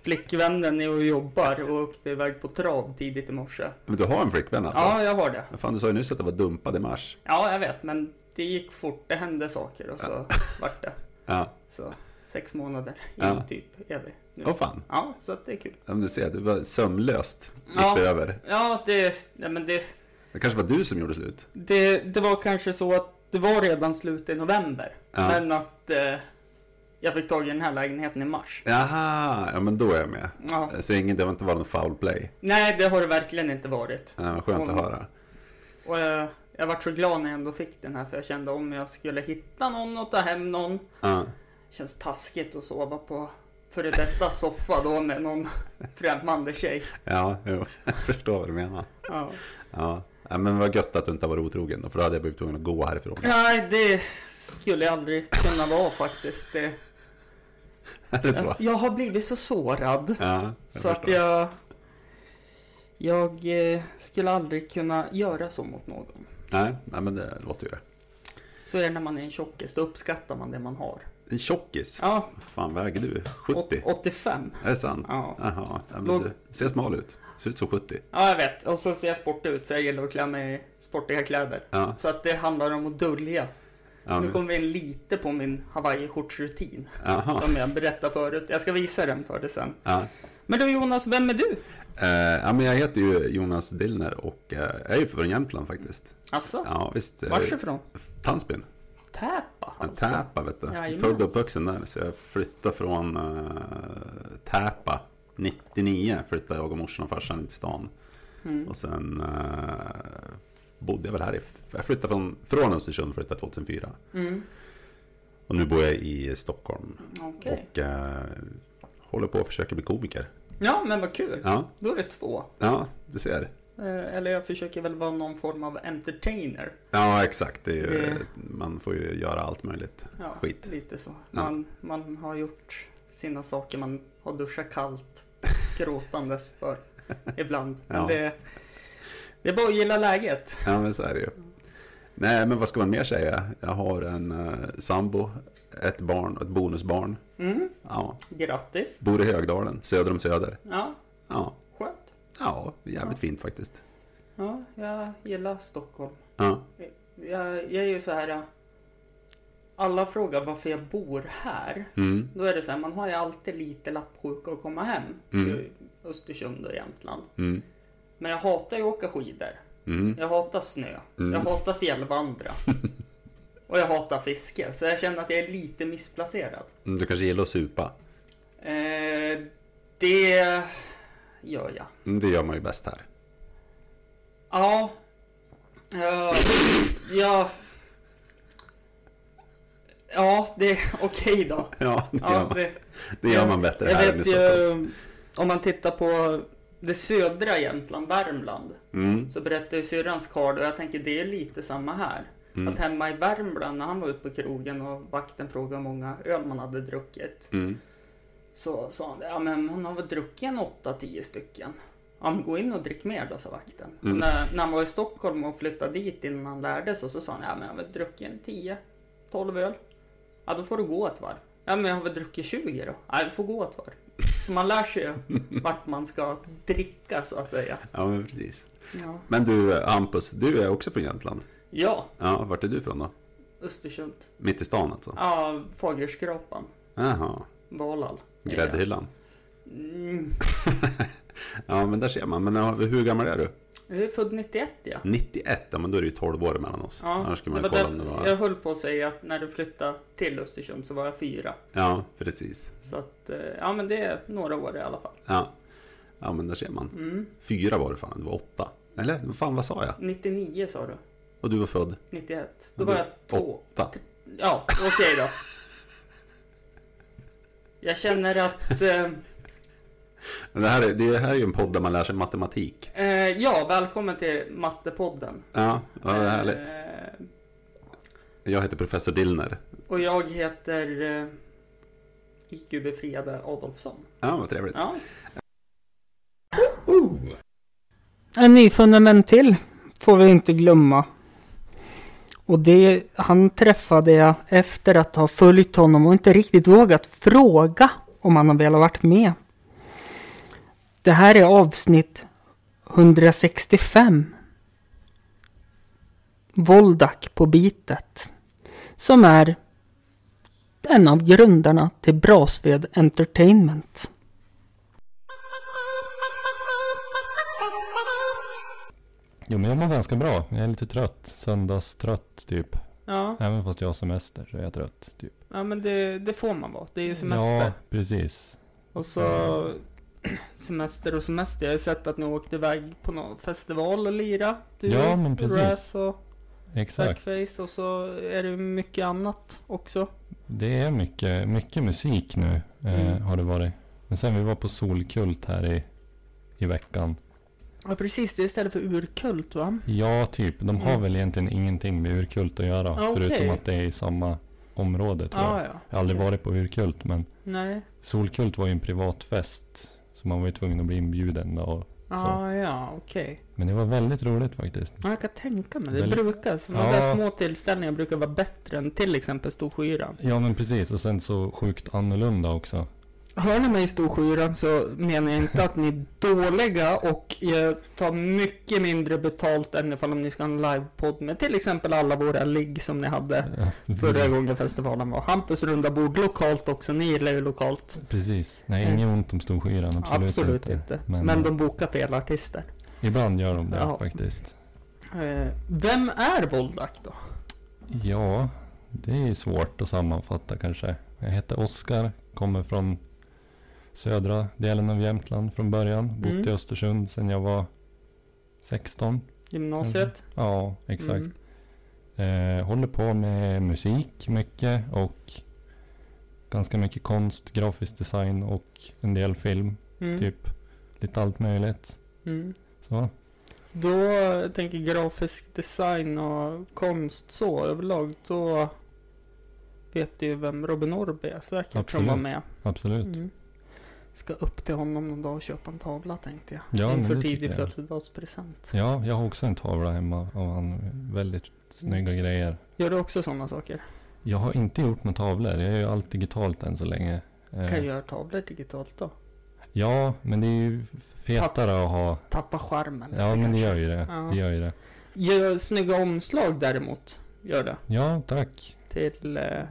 Speaker 1: flickvännen är och jobbar och åkte iväg på trav tidigt i morse.
Speaker 9: Men du har en flickvän alltså?
Speaker 1: Ja, jag har det.
Speaker 9: Fan, du sa ju nyss att det var dumpad i mars.
Speaker 1: Ja, jag vet, men det gick fort, det hände saker och så vart det.
Speaker 9: Ja.
Speaker 1: Så sex månader in
Speaker 9: Ja.
Speaker 1: typ, är vi nu.
Speaker 9: Åh fan.
Speaker 1: Ja, så att det är kul.
Speaker 9: Ja, men du ser, du var sömlöst. Gick
Speaker 1: Ja.
Speaker 9: det över.
Speaker 1: Ja, det, nej, men det,
Speaker 9: Det kanske var du som gjorde slut.
Speaker 1: det, det var kanske så att det var redan slut i november,
Speaker 9: Ja.
Speaker 1: men att eh, jag fick tag i den här lägenheten i mars.
Speaker 9: Jaha, ja men då är jag med.
Speaker 1: Ja.
Speaker 9: Så ingen, det var inte bara någon foul play.
Speaker 1: Nej, det har det verkligen inte varit.
Speaker 9: Ja, vad skönt att höra.
Speaker 1: Och jag, Jag vart så glad när jag ändå fick den här för jag kände om jag skulle hitta någon och ta hem någon.
Speaker 9: Ja.
Speaker 1: Känns taskigt att sova på före detta soffa då med någon främmande tjej.
Speaker 9: Ja, jo, jag förstår vad du menar.
Speaker 1: Ja.
Speaker 9: Ja. ja, men vad gött att du inte har varit otrogen då, för då hade jag blivit tvungen att gå härifrån.
Speaker 1: Nej, det skulle jag aldrig kunna vara faktiskt. Det-
Speaker 9: Är det så?
Speaker 1: Jag har blivit så sårad.
Speaker 9: Ja, jag
Speaker 1: Så att
Speaker 9: förstår.
Speaker 1: jag... Jag eh, skulle aldrig kunna göra så mot någon.
Speaker 9: Nej, nej, men det låter ju det.
Speaker 1: Så är det när man är en tjockis, då uppskattar man det man har.
Speaker 9: En tjockis?
Speaker 1: Ja,
Speaker 9: Vad fan väger du?
Speaker 1: åt-
Speaker 9: 70?
Speaker 1: 85.
Speaker 9: Är det sant?
Speaker 1: Ja.
Speaker 9: Jaha, ja, men
Speaker 1: Låg-
Speaker 9: du ser smal ut. Ser ut som 70.
Speaker 1: Ja, jag vet. Och så ser jag sportig ut, för jag gillar att klä mig i sportiga kläder.
Speaker 9: Ja,
Speaker 1: Så att det handlar om att dölja.
Speaker 9: ja,
Speaker 1: nu
Speaker 9: men,
Speaker 1: kommer vi in lite på min hawaiiskjortsrutin,
Speaker 9: jaha.
Speaker 1: som jag berättade förut. Jag ska visa den för dig sen.
Speaker 9: Ja.
Speaker 1: Men du Jonas, vem är du?
Speaker 9: Eh, ja, men jag heter ju Jonas Dillner och eh, jag är ju från Jämtland faktiskt.
Speaker 1: Alltså,
Speaker 9: Ja, visst. eh,
Speaker 1: vars ifrån?
Speaker 9: Tandsbyn. Eh,
Speaker 1: Täpa alltså?
Speaker 9: Täpa vet du.
Speaker 1: Jajamän.
Speaker 9: Född och uppvuxen där. Så jag flyttade från eh, Täpa. 99 flyttade jag och morsan och farsan in till stan.
Speaker 1: Mm.
Speaker 9: Och sen eh, bodde jag väl här i... Jag flyttade från, från Östersund flyttade 2004.
Speaker 1: Mm.
Speaker 9: Och nu bor jag i Stockholm.
Speaker 1: Okej.
Speaker 9: Och eh, håller på att försöka bli komiker.
Speaker 1: Ja, men vad kul.
Speaker 9: Ja,
Speaker 1: Då är det två.
Speaker 9: ja du ser.
Speaker 1: Eh, Eller jag försöker väl vara någon form av entertainer.
Speaker 9: Ja, exakt. Det är ju,
Speaker 1: Det-
Speaker 9: Man får ju göra allt möjligt.
Speaker 1: Ja,
Speaker 9: Skit.
Speaker 1: Lite så.
Speaker 9: Ja.
Speaker 1: Man, man har gjort sina saker, man har duschat kallt gråtandes för ibland. Men
Speaker 9: Ja.
Speaker 1: det, det är bara att gilla läget.
Speaker 9: Ja, men så är det ju.
Speaker 1: Mm.
Speaker 9: Nej, men vad ska man mer säga? Jag har en eh, sambo, ett barn och ett bonusbarn.
Speaker 1: Mm,
Speaker 9: Ja,
Speaker 1: grattis.
Speaker 9: bor i Högdalen, söder om Söder.
Speaker 1: Ja,
Speaker 9: Ja,
Speaker 1: skönt.
Speaker 9: ja jävligt fint faktiskt.
Speaker 1: Ja, jag gillar Stockholm.
Speaker 9: Ja,
Speaker 1: Jag, jag är ju så här. eh, Alla frågar varför jag bor här.
Speaker 9: mm,
Speaker 1: Då är det så här, man har ju alltid lite lappsjuka att komma hem.
Speaker 9: Mm.
Speaker 1: till Östersund och Jämtland.
Speaker 9: mm,
Speaker 1: Men jag hatar ju att åka skidor.
Speaker 9: mm.
Speaker 1: Jag hatar snö.
Speaker 9: Mm.
Speaker 1: Jag hatar fjällvandra. och jag hatar fiske. Så jag känner att jag är lite missplacerad.
Speaker 9: Mm, Du kanske gillar att supa?
Speaker 1: Eh, det gör jag.
Speaker 9: Mm, Det gör man ju bäst här.
Speaker 1: Ja. Ja. Ja. Ja, det... Okej då.
Speaker 9: Ja, det, gör,
Speaker 1: Ja,
Speaker 9: man,
Speaker 1: det,
Speaker 9: det gör man bättre
Speaker 1: jag
Speaker 9: här än i
Speaker 1: vet
Speaker 9: Stockholm.
Speaker 1: ju... Om man tittar på det södra Jämtland, Värmland.
Speaker 9: Mm,
Speaker 1: Så berättade ju syrrans karl och jag tänker det är lite samma här.
Speaker 9: mm,
Speaker 1: Att hemma i Värmland när han var ute på krogen och vakten frågade hur många öl man hade druckit.
Speaker 9: mm.
Speaker 1: Så sa han det, ja men man har väl druckit en 8-10 stycken. Ja men gå in och drick mer då sa vakten. Och
Speaker 9: Mm.
Speaker 1: När, när han var i Stockholm och flyttade dit innan han lärde sig så sa han, ja men jag har väl druckit en 10-12 öl. Ja då får du gå ett varv. Ja men jag har väl druckit 20 då. Ja du får gå ett varv. Så man lär sig ju vart man ska dricka så att säga.
Speaker 9: Ja, men precis.
Speaker 1: Ja,
Speaker 9: Men du, Hampus, du är också från Jämtland.
Speaker 1: ja
Speaker 9: Ja, vart är du från då?
Speaker 1: Östersund.
Speaker 9: Mitt i stan alltså?
Speaker 1: Ja, Fagerskrapan.
Speaker 9: Jaha,
Speaker 1: Valhall.
Speaker 9: gräddhyllan.
Speaker 1: Mm.
Speaker 9: Ja, men där ser man. Men ja, hur gammal är du?
Speaker 1: Jag är född 91 ja.
Speaker 9: 91, ja, men då är det ju 12 år mellan oss.
Speaker 1: ja
Speaker 9: Annars skulle man
Speaker 1: det
Speaker 9: ju
Speaker 1: var
Speaker 9: kolla om det
Speaker 1: därför
Speaker 9: var...
Speaker 1: Jag höll på att säga att när du flyttade till Östersund så var jag fyra.
Speaker 9: Ja, precis.
Speaker 1: Så att, eh, ja men det är några år i alla fall.
Speaker 9: Ja. ja, men där ser man.
Speaker 1: Mm.
Speaker 9: Fyra var det fan, det var åtta. Eller? vad Fan, vad sa jag?
Speaker 1: 99 sa du.
Speaker 9: Och du var född?
Speaker 1: 91. Då
Speaker 9: Ja,
Speaker 1: var
Speaker 9: du-
Speaker 1: jag två.
Speaker 9: Åtta.
Speaker 1: Ja, okej då. Jag känner att, eh,
Speaker 9: Men Det här, är, det här är ju en podd där man lär sig matematik.
Speaker 1: eh, ja välkommen till Mattepodden.
Speaker 9: Ja, vad härligt.
Speaker 1: Eh,
Speaker 9: Jag heter Professor Dillner.
Speaker 1: och jag heter eh, IQ-befriade Adolfsson.
Speaker 9: Ja, vad trevligt.
Speaker 1: Ja,
Speaker 5: En ny fundament till får vi inte glömma. Och det, han träffade jag efter att ha följt honom och inte riktigt vågat fråga om han har velat varit med. Det här är avsnitt 165. Voldak på bitet. Som är en av grundarna till Brasved Entertainment.
Speaker 10: Jo men jag mår ganska bra. Jag är lite trött. Söndagstrött typ.
Speaker 1: ja.
Speaker 10: Även fast jag har semester så är jag trött typ.
Speaker 1: Ja men det, det får man vara. Det är ju semester.
Speaker 10: Ja precis.
Speaker 1: Och så semester och semester. Jag har sett att ni åkte iväg på någon festival och lira. Du,
Speaker 10: Ja, men precis.
Speaker 1: Raz och
Speaker 10: Exakt.
Speaker 1: Blackface och så är det mycket annat också.
Speaker 10: Det är mycket, mycket musik nu
Speaker 1: Mm.
Speaker 10: eh, har det varit. Men sen vi var på Solkult här i, i veckan.
Speaker 1: Ja precis, det är istället för urkult va?
Speaker 10: Ja, typ. De har
Speaker 1: Mm.
Speaker 10: väl egentligen ingenting med urkult att göra.
Speaker 1: Ah, okej.
Speaker 10: Förutom att det är i samma område tror
Speaker 1: Ah,
Speaker 10: jag.
Speaker 1: ja.
Speaker 10: Jag har aldrig
Speaker 1: Okej.
Speaker 10: varit på urkult men
Speaker 1: Nej.
Speaker 10: Solkult var ju en privat fest. Så man var ju tvungen att bli inbjuden. då Och
Speaker 1: Ja,
Speaker 10: så.
Speaker 1: Ah, ja, okej.
Speaker 10: Men det var väldigt roligt faktiskt.
Speaker 1: Ja, jag kan tänka mig det. Det
Speaker 10: Väldigt-
Speaker 1: brukar, sådana där
Speaker 10: Ja.
Speaker 1: små tillställningar brukar vara bättre än till exempel Storsjöyran.
Speaker 10: Ja men precis och sen så sjukt annorlunda också.
Speaker 1: Hör ni mig i Storsjöyran så menar jag inte att ni är dåliga och jag tar mycket mindre betalt än ifall om ni ska ha en livepodd med till exempel alla våra ligg som ni hade förra gången festivalen var. Hampus runda bord lokalt också, ni gillar ju lokalt.
Speaker 10: Precis. Nej,
Speaker 1: Mm.
Speaker 10: inget ont om Storskyran. Absolut, inte.
Speaker 1: Men,
Speaker 10: Men,
Speaker 1: de bokar fel artister.
Speaker 10: ibland gör de det
Speaker 1: Ja.
Speaker 10: faktiskt.
Speaker 1: Eh, Vem är Voldak då?
Speaker 10: Ja, det är ju svårt att sammanfatta kanske. Jag heter Oskar, kommer från södra delen av Jämtland från början. Bott
Speaker 1: Mm.
Speaker 10: i Östersund sedan jag var 16.
Speaker 1: Gymnasiet?
Speaker 10: Ja, exakt.
Speaker 1: Mm.
Speaker 10: Eh, håller på med musik mycket och ganska mycket konst, grafisk design och en del film.
Speaker 1: Mm.
Speaker 10: Typ lite allt möjligt.
Speaker 1: Mm.
Speaker 10: Så.
Speaker 1: Då eh, tänker grafisk design och konst så överlag, då vet du ju vem Robin Orby är säkert som
Speaker 10: Absolut.
Speaker 1: var med.
Speaker 10: Absolut.
Speaker 1: Mm. Ska upp till honom någon dag och köpa en tavla tänkte jag.
Speaker 10: Ja, men
Speaker 1: Inför
Speaker 10: det
Speaker 1: tidig
Speaker 10: tycker jag.
Speaker 1: födelsedagspresent.
Speaker 10: Ja, jag har också en tavla hemma av han. Väldigt snygga grejer.
Speaker 1: Gör du också sådana saker?
Speaker 10: Jag har inte gjort några tavlor. Jag gör ju allt digitalt än så länge. Eh,
Speaker 1: Kan jag göra tavlor digitalt då?
Speaker 10: Ja, men det är ju fetare att ha.
Speaker 1: Tappa charmen
Speaker 10: Ja, men det gör ju det.
Speaker 1: Ja.
Speaker 10: Det gör ju det.
Speaker 1: Gör snygga omslag däremot. Gör det.
Speaker 10: Ja, tack.
Speaker 1: Till eh,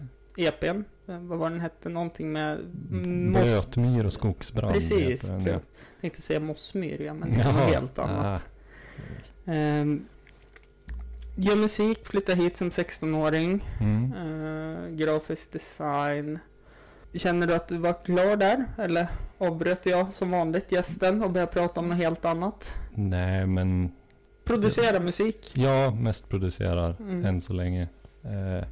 Speaker 1: EPn. Eh, Vad var den hette? Någonting med... Mm, moss-
Speaker 10: Blötmyr och skogsbrand
Speaker 1: Precis.
Speaker 10: heter den.
Speaker 1: Blöt. Jag tänkte säga mossmyrja, men det är
Speaker 10: Jaha.
Speaker 1: något helt annat. Ehm, gör musik, flyttar hit som 16-åring.
Speaker 10: Mm.
Speaker 1: Eh, grafisk design. Känner du att du var klar där? Eller avbröt jag som vanligt gästen och började prata om något helt annat?
Speaker 10: Nej, men
Speaker 1: Producera musik.
Speaker 10: jag mest producerar
Speaker 1: Mm.
Speaker 10: än så länge. Eh,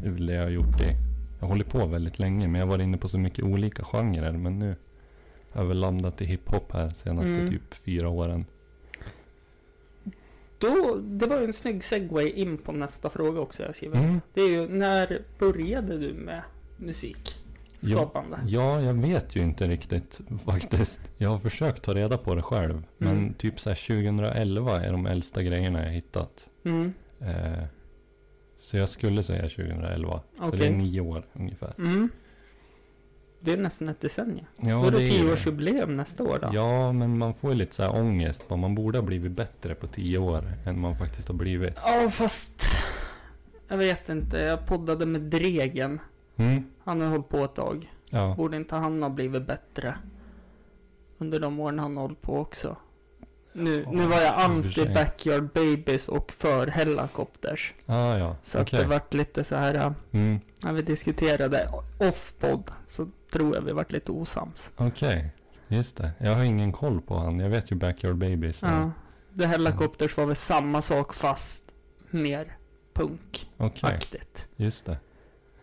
Speaker 10: det är väl det jag har gjort det. Jag håller på väldigt länge, men jag var inne på så mycket olika genrer. Men nu har jag väl landat i hiphop här senaste
Speaker 1: Mm.
Speaker 10: typ fyra åren.
Speaker 1: Då, det var ju en snygg segway in på nästa fråga också jag skriver.
Speaker 10: Mm.
Speaker 1: Det är ju, när började du med musik?
Speaker 10: Jo.
Speaker 1: Skapande?
Speaker 10: Ja, jag vet ju inte riktigt faktiskt. Jag har försökt ta reda på det själv.
Speaker 1: Mm.
Speaker 10: Men typ så här 2011 är de äldsta grejerna jag hittat.
Speaker 1: Mm.
Speaker 10: Eh, så jag skulle säga 2011. Så det
Speaker 1: Okej.
Speaker 10: är nio år ungefär.
Speaker 1: Mm. Det är nästan ett decennium.
Speaker 10: Ja,
Speaker 1: då är det
Speaker 10: det är det.
Speaker 1: tioårsjubileum nästa år då.
Speaker 10: Ja, men man får ju lite så här ångest. vad Man borde ha blivit bättre på tio år än man faktiskt har blivit.
Speaker 1: Ja, fast... Jag vet inte. Jag poddade med Dregen.
Speaker 10: Mm.
Speaker 1: Han har hållit på ett tag.
Speaker 10: Ja,
Speaker 1: Borde inte han ha blivit bättre? Under de åren han har hållit på också. Nu,
Speaker 10: Ja,
Speaker 1: nu var jag
Speaker 10: i och för sig.
Speaker 1: anti Backyard Babies och för Hellacopters.
Speaker 10: ah, ja.
Speaker 1: Så att det vart lite så här... äh,
Speaker 10: mm.
Speaker 1: När vi diskuterade off-podd så tror jag vi vart lite osams.
Speaker 10: Okej, just det. Jag har ingen koll på han. Jag vet ju Backyard Babies. men-
Speaker 1: Ja. Det Hellacopters var väl samma sak fast mer punkaktigt.
Speaker 10: Okej, just det.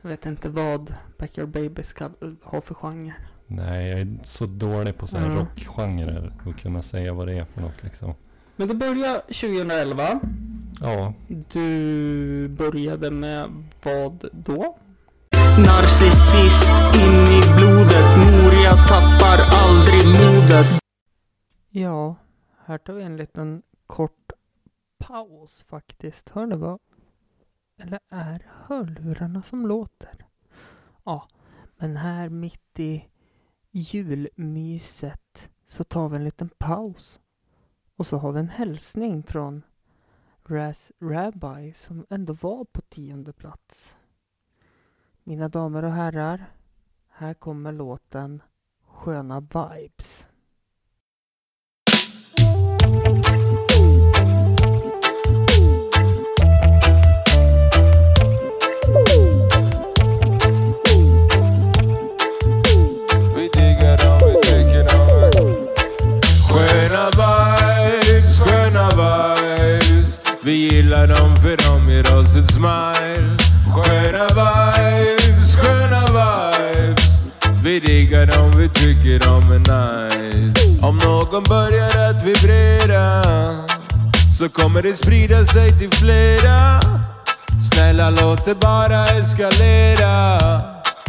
Speaker 1: Jag vet inte vad Backyard Babies ska ha för genre.
Speaker 10: Nej, jag är så dålig på så här
Speaker 1: Ja.
Speaker 10: rockgenrer och kunna säga vad det är för något liksom.
Speaker 1: Men det började 2011.
Speaker 10: Ja,
Speaker 1: Du började med vad då?
Speaker 11: Narcissist in i blodet. Moria tappar aldrig modet.
Speaker 1: Ja, här tar vi en liten kort paus faktiskt. Hör ni vad? Eller är hörlurarna som låter? Ja, men här mitt i julmyset så tar vi en liten paus. Och så har vi en hälsning från Raz Rabbi som ändå var på tionde plats. Mina damer och herrar, här kommer låten Sköna vibes.
Speaker 12: Vi diggar dem, vi tycker dem Sköna vibes, sköna vibes Vi gillar dem för de ger oss ett smile Sköna vibes, sköna vibes Vi diggar dem, vi tycker de är nice Om någon börjar att vibrera Så kommer det sprida sig till flera Snälla låt det bara eskalera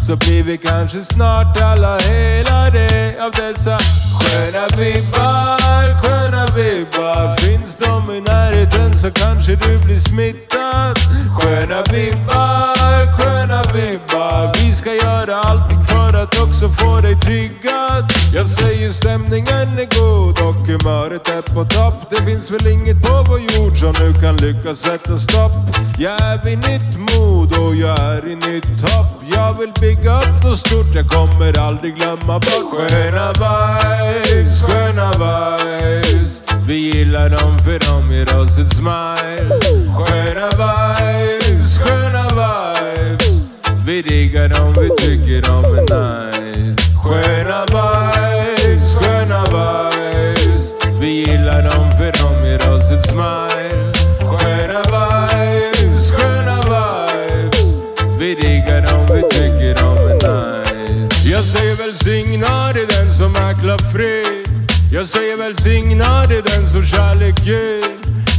Speaker 12: Så blir vi kanske snart alla helade av dessa Sköna vibbar, sköna vibbar Finns de i närheten så kanske du blir smittad Sköna vibbar, sköna vibbar Vi ska göra allting för att också få dig triggad Jag säger stämningen är god och humöret är på topp Det finns väl inget på vår jord som nu kan lyckas sätta stopp Jag är vid nytt mod och jag är i nytt hopp Jag vill bygga upp något stort, jag kommer aldrig glömma bort Sköna vibes, sköna vibes Vi gillar dem för de ger oss ett smile Sköna vibes, sköna vibes Vi diggar dem, vi tycker de är nice Sköna vibes, sköna vibes Vi gillar dem för de ger oss ett smile Sköna vibes, sköna vibes Vi diggar dem, vi tycker de är nice Jag säger välsignad i den som äcklar fred Jag säger välsignad i den som kärlek ger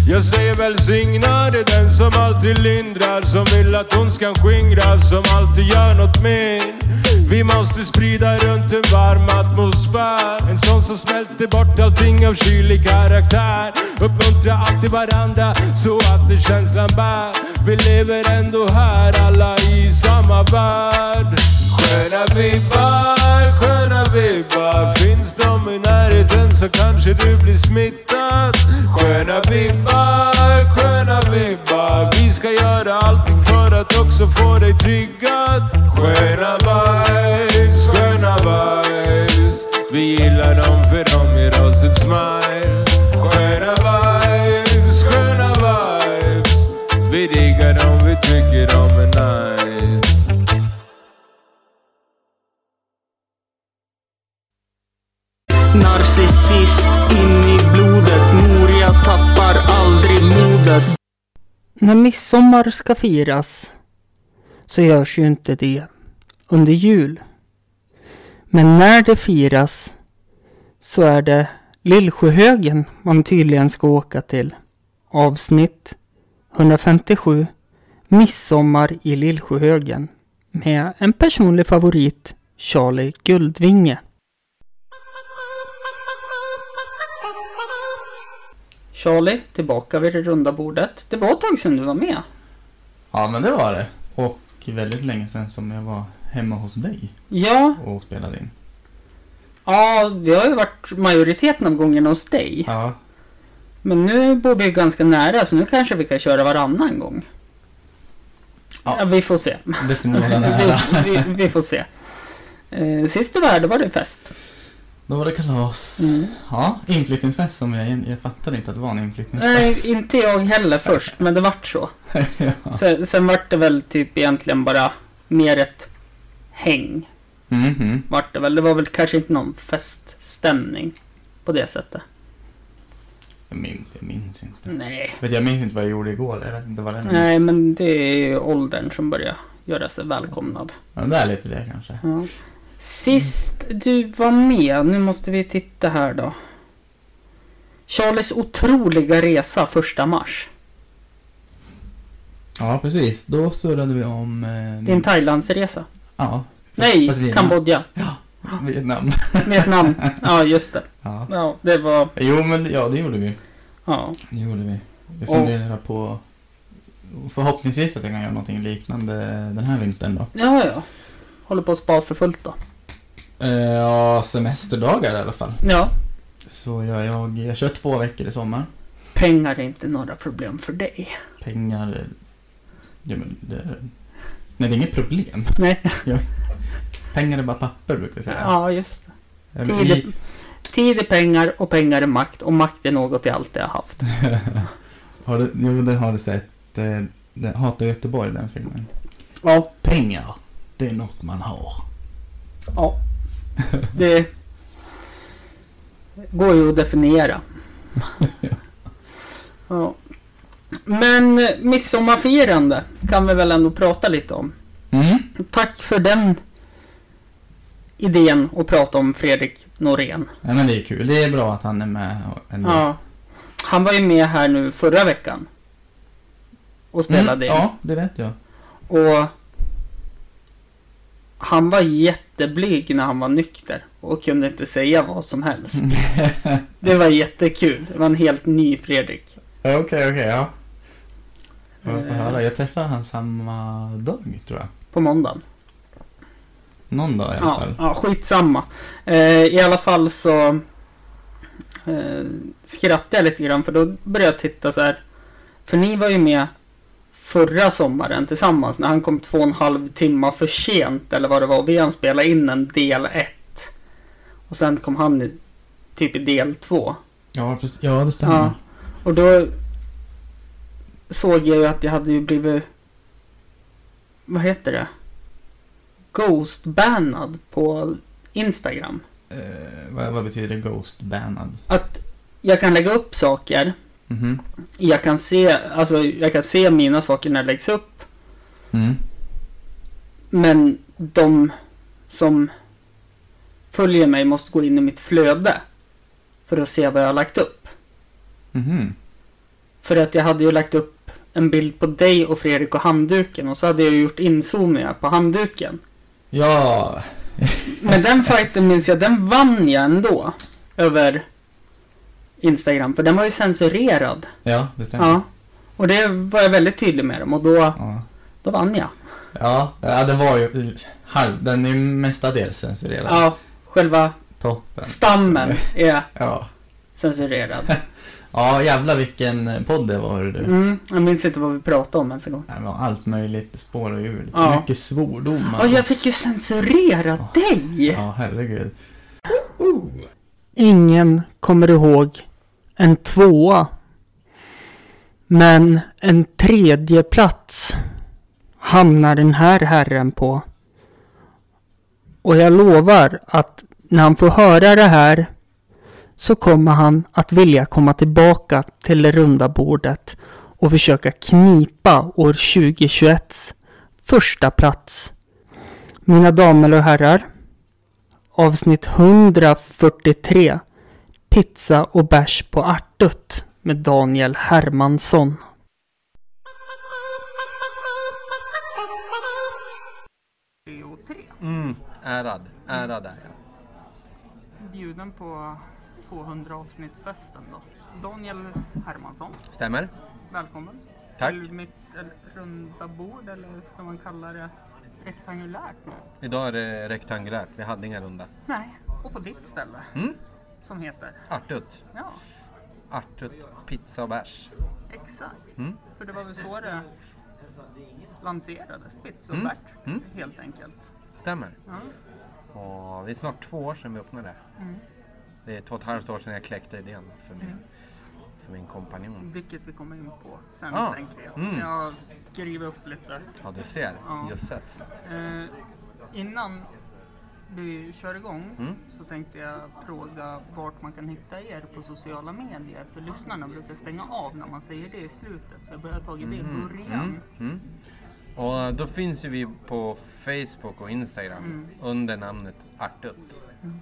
Speaker 12: jag säger välsignad i den som alltid lindrar Som vill att hon ska skingras Som alltid gör något mer Vi måste sprida runt en varm atmosfär En sån som smälter bort allting av kylig karaktär Uppmuntra alltid varandra så att det känslan bär Vi lever ändå här, alla i samma värld Sköna vibbar, sköna vibbar Finns de i närheten så kanske du blir smittad Sköna vibbar, sköna vibbar Vi ska göra allting för att också få dig triggad Sköna vibes, sköna vibes Vi gillar dem för de ger oss ett smile Sköna vibes, sköna vibes Vi diggar dem, vi tycker de är nice
Speaker 1: Narcissist in i blodet. Moria tappar aldrig modet.
Speaker 13: När midsommar ska firas så görs ju inte det under jul. Men när det firas så är det Lillsjöhögen man tydligen ska åka till. Avsnitt 157 Midsommar i Lillsjöhögen med en personlig favorit Charlie Guldvinge.
Speaker 1: Charlie, tillbaka vid det runda bordet. Det var ett tag sedan du var med.
Speaker 5: Ja, men det var det. Och väldigt länge sedan som jag var hemma hos dig
Speaker 1: Ja,
Speaker 5: och spelade in.
Speaker 1: ja vi har ju varit majoriteten av gångerna hos dig.
Speaker 5: Ja,
Speaker 1: Men nu bor vi ju ganska nära så nu kanske vi kan köra varannan gång. Ja. vi får se.
Speaker 5: det får ni hålla nära.
Speaker 1: vi, vi, vi får se. Eh, sist du var här, då var det fest.
Speaker 5: Då var det kalas.
Speaker 1: Mm.
Speaker 5: Ja, inflyttningsfest som jag, jag fattade inte att det var en inflyttningsfest.
Speaker 1: Nej, inte jag heller först, men det vart så. Sen, sen vart det väl typ egentligen bara mer ett häng.
Speaker 5: Mhm.
Speaker 1: Vart det väl. Det var väl kanske inte någon feststämning på det sättet.
Speaker 5: Jag minns, jag minns inte.
Speaker 1: Nej.
Speaker 5: Vet, du, jag minns inte vad jag gjorde igår. Jag vet inte vad det är.
Speaker 1: Nej, men det är ju åldern som börjar göra sig välkomnad.
Speaker 5: Ja, det är lite det kanske.
Speaker 1: Ja. Sist du var med, nu måste vi titta här då. Charlies otroliga resa första mars.
Speaker 5: Ja, precis. Då surrade vi om... Eh,
Speaker 1: Din Thailandsresa.
Speaker 5: Ja.
Speaker 1: Nej,
Speaker 5: fast Vietnam.
Speaker 1: Kambodja.
Speaker 5: Vietnam.
Speaker 1: Vietnam. Ja, just det.
Speaker 5: Ja.
Speaker 1: Ja, det var...
Speaker 5: Jo, men ja, det gjorde vi.
Speaker 1: Ja.
Speaker 5: Det gjorde vi. Vi
Speaker 1: Och-
Speaker 5: funderar på... Förhoppningsvis att jag kan göra någonting liknande den här vintern då.
Speaker 1: Ja, ja. Håller på att spa för fullt då.
Speaker 5: Eh, Ja, semesterdagar i alla fall.
Speaker 1: Ja.
Speaker 5: Så jag, jag, jag kör två veckor i sommar.
Speaker 1: Pengar är inte några problem för dig.
Speaker 5: Pengar... eh, Ja, men det, nej, det är inget problem.
Speaker 1: Nej.
Speaker 5: Ja. pengar är bara papper brukar vi säga.
Speaker 1: Ja, just
Speaker 5: Ja,
Speaker 1: det.
Speaker 5: men
Speaker 1: Tid,
Speaker 5: vi-
Speaker 1: är- tid är pengar och pengar är makt och makt är något jag alltid har haft.
Speaker 5: Har du, jo, den har du sett. Eh, Den, Hatar Göteborg, den filmen.
Speaker 1: Ja.
Speaker 5: Pengar, det är något man har.
Speaker 1: Ja. Det går ju att definiera. Ja. Men midsommarfirande kan vi väl ändå prata lite om.
Speaker 14: Mm.
Speaker 1: Tack för den idén att prata om Fredrik Norén.
Speaker 14: Ja, men det är kul. Det är bra att han är med ändå.
Speaker 1: Ja. Han var ju med här nu förra veckan. Och spelade
Speaker 14: Mm,
Speaker 1: in.
Speaker 14: ja, det vet jag.
Speaker 1: Och han var jätteblyg när han var nykter och kunde inte säga vad som helst. det var jättekul. Det var en helt ny Fredrik.
Speaker 14: Ja, Okej, okej, ja. Jag får
Speaker 1: Eh.
Speaker 14: höra. Jag träffade han samma dag, tror jag.
Speaker 1: På måndagen.
Speaker 14: Någon dag i alla
Speaker 1: Ja,
Speaker 14: fall.
Speaker 1: ja, skitsamma. Eh, I alla fall så eh, skrattade jag lite grann för då började jag titta så här. För ni var ju med förra sommaren tillsammans när han kom två och en halv timme för sent eller vad det var. Vi hann spela in en del ett. Och sen kom han i, typ i del två.
Speaker 14: Ja, precis. ja det stämmer.
Speaker 15: Mm.
Speaker 1: Ja. Och då såg jag ju att jag hade ju blivit... Vad heter det? Ghostbannad på Instagram.
Speaker 14: Eh, vad, vad betyder ghost bannad?
Speaker 1: Att jag kan lägga upp saker.
Speaker 14: Mhm.
Speaker 1: Jag kan se, alltså, jag kan se mina saker när det läggs upp.
Speaker 14: Mm.
Speaker 1: Men de som följer mig måste gå in i mitt flöde. För att se vad jag har lagt upp.
Speaker 14: Mhm.
Speaker 1: För att jag hade ju lagt upp en bild på dig och Fredrik och handduken och så hade jag ju gjort inzoomningar på handduken.
Speaker 14: Ja.
Speaker 1: Men den fighten minns jag, den vann jag ändå. Över Instagram, för den var ju censurerad.
Speaker 14: Ja, det stämmer.
Speaker 1: Ja. Och det var jag väldigt tydlig med dem och då, då vann jag.
Speaker 14: Ja, ja den var ju halv... Den är ju mestadels censurerad.
Speaker 1: Ja, själva
Speaker 14: Toppen.
Speaker 1: stammen är
Speaker 14: Ja.
Speaker 1: censurerad.
Speaker 14: Ja, jävlar vilken podd det var hörru du.
Speaker 1: Mm, jag minns inte vad vi pratade om ens en gång.
Speaker 14: Det var allt möjligt, spår och hjul.
Speaker 1: Ja.
Speaker 14: Mycket alltså. svordomar.
Speaker 1: Och jag fick ju censurera dig!
Speaker 14: Ja, herregud.
Speaker 1: Ingen kommer ihåg en tvåa. Men en tredje plats hamnar den här herren på. Och jag lovar att när han får höra det här så kommer han att vilja komma tillbaka till det runda bordet och försöka knipa år 2021 första plats. Mina damer och herrar, avsnitt 143 Pizza och bärs på Artut med Daniel Hermansson.
Speaker 16: Mm, ärad. Ärad är jag.
Speaker 1: Bjuden på 200 avsnittsfesten då. Daniel Hermansson,
Speaker 16: Stämmer?
Speaker 1: välkommen.
Speaker 16: Tack.
Speaker 1: Till mitt eh, runda bord eller ska man kalla det rektangulärt nu?
Speaker 16: Idag är det rektangulärt. Vi hade inga runda.
Speaker 1: Nej, och på ditt ställe.
Speaker 16: Mm.
Speaker 1: Som heter?
Speaker 16: Artut.
Speaker 1: Ja,
Speaker 16: Artut, pizza och bärs.
Speaker 1: exakt.
Speaker 16: Mm.
Speaker 1: För det var väl så det lanserades, Pizza och
Speaker 16: Mm.
Speaker 1: Bert,
Speaker 16: Mm.
Speaker 1: helt enkelt.
Speaker 16: Stämmer.
Speaker 1: Ja.
Speaker 16: Och det är snart två år sedan vi öppnade.
Speaker 1: Mm.
Speaker 16: Det är två och ett halvt år sedan jag kläckte idén för min, för min kompanjon.
Speaker 1: Vilket vi kommer in på sen
Speaker 16: Mm. Ah,
Speaker 1: tänker jag.
Speaker 16: mm.
Speaker 1: Jag skriver upp lite.
Speaker 16: Ja, du ser.
Speaker 1: Ja.
Speaker 16: Jösses.
Speaker 1: Eh, innan vi kör igång
Speaker 16: Mm.
Speaker 1: så tänkte jag fråga vart man kan hitta er på sociala medier. För lyssnarna brukar stänga av när man säger det i slutet. Så jag börjar ta det i
Speaker 16: Mm,
Speaker 1: början.
Speaker 16: mm, mm. Och då finns ju vi på Facebook och Instagram
Speaker 1: Mm.
Speaker 16: under namnet Artut.
Speaker 1: Mm.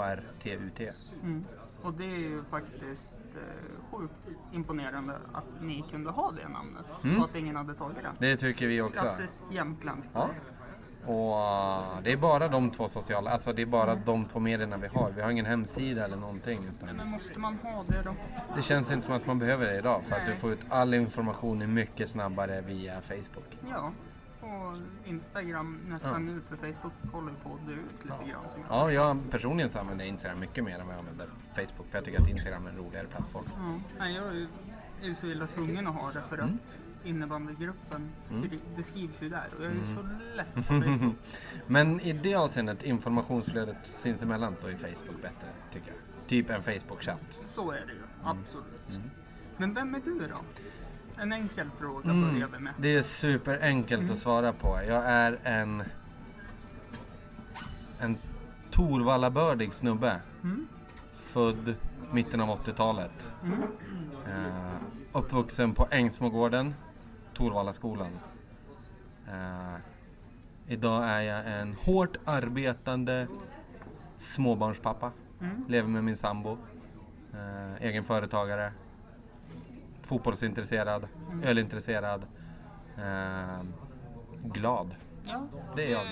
Speaker 16: A-R-T-U-T.
Speaker 1: Mm. Och det är ju faktiskt eh, sjukt imponerande att ni kunde ha det namnet.
Speaker 16: Mm.
Speaker 1: Och att ingen hade tagit det.
Speaker 16: Det tycker vi också.
Speaker 1: Klassiskt jämtländskt.
Speaker 16: Ja. Och eh, det är bara de två sociala, alltså det är bara
Speaker 1: Mm.
Speaker 16: de två medierna vi har. Vi har ingen hemsida eller någonting.
Speaker 1: Nej,
Speaker 16: Utan
Speaker 1: Men måste man ha det då?
Speaker 16: det känns inte som att man behöver det idag för att du
Speaker 1: Nej.
Speaker 16: får ut all information mycket snabbare via Facebook.
Speaker 1: Ja, och Instagram nästan
Speaker 16: Ja.
Speaker 1: nu för Facebook håller på att dö ut lite grann. Som jag.
Speaker 16: Ja, jag personligen så använder jag Instagram mycket mer än vad jag använder Facebook för jag tycker att Instagram är en roligare plattform.
Speaker 1: Ja. Nej, jag är ju- är ju så illa tvungen att ha det för
Speaker 16: Mm.
Speaker 1: att innebandygruppen, skri- det skrivs ju där och jag är ju
Speaker 16: Mm.
Speaker 1: så less på Facebook.
Speaker 16: Men i det avseendet informationsflödet sinsemellan då är Facebook bättre tycker jag. Typ en Facebook-chatt.
Speaker 1: Så är det ju, absolut.
Speaker 16: Mm.
Speaker 1: Men vem är du då? En enkel fråga
Speaker 16: Mm.
Speaker 1: börjar vi med.
Speaker 16: Det är superenkelt
Speaker 1: Mm.
Speaker 16: att svara på. Jag är en... En Torvallabördig snubbe.
Speaker 1: Mm.
Speaker 16: Född mitten av 80-talet.
Speaker 1: Mm.
Speaker 16: Eh, Uppvuxen på Ängsmogården, Torvallaskolan. Eh, idag är jag en hårt arbetande småbarnspappa.
Speaker 1: Mm.
Speaker 16: Lever med min sambo. Eh, egen företagare. Fotbollsintresserad.
Speaker 1: Mm.
Speaker 16: Ölintresserad. Eh, glad.
Speaker 1: Ja,
Speaker 16: Det är jag.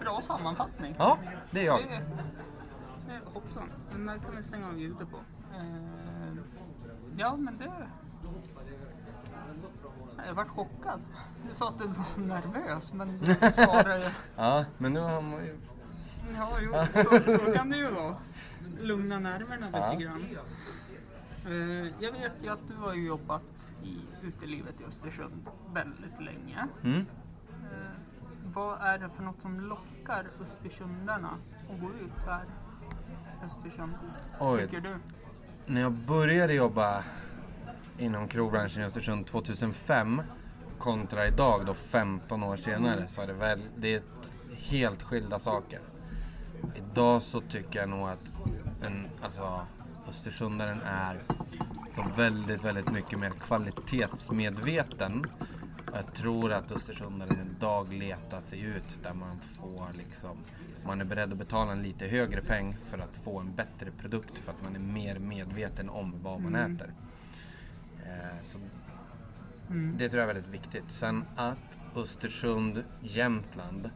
Speaker 1: Bra sammanfattning.
Speaker 16: Ja, det är jag.
Speaker 1: Det, det är hoppsan. Den där kan vi stänga av ljudet på. Eh, ja, men det... Jag varit chockad. Du sa att du var nervös, men du sa det...
Speaker 16: Ja, men nu har man ju...
Speaker 1: Mm, Ja, jo, så, så kan det ju vara. Lugna nerverna
Speaker 16: Ja.
Speaker 1: lite grann. Eh, jag vet ju att du har ju jobbat i utelivet i Östersund väldigt länge.
Speaker 16: Mm.
Speaker 1: Eh, vad är det för något som lockar östersundarna att gå ut här i Östersund?
Speaker 16: Oj.
Speaker 1: Tycker du?
Speaker 16: När jag började jobba inom krogbranschen i Östersund 2005 kontra idag då 15 år senare
Speaker 1: Mm.
Speaker 16: så är det väl, det är t- helt skilda saker. Idag så tycker jag nog att en, alltså, Östersundaren är så väldigt, väldigt mycket mer kvalitetsmedveten. Jag tror att Östersundaren idag letar sig ut där man får liksom, man är beredd att betala en lite högre peng för att få en bättre produkt för att man är mer medveten om vad man
Speaker 1: Mm.
Speaker 16: äter. Eh, så
Speaker 1: Mm.
Speaker 16: det tror jag är väldigt viktigt. Sen att Östersund, Jämtland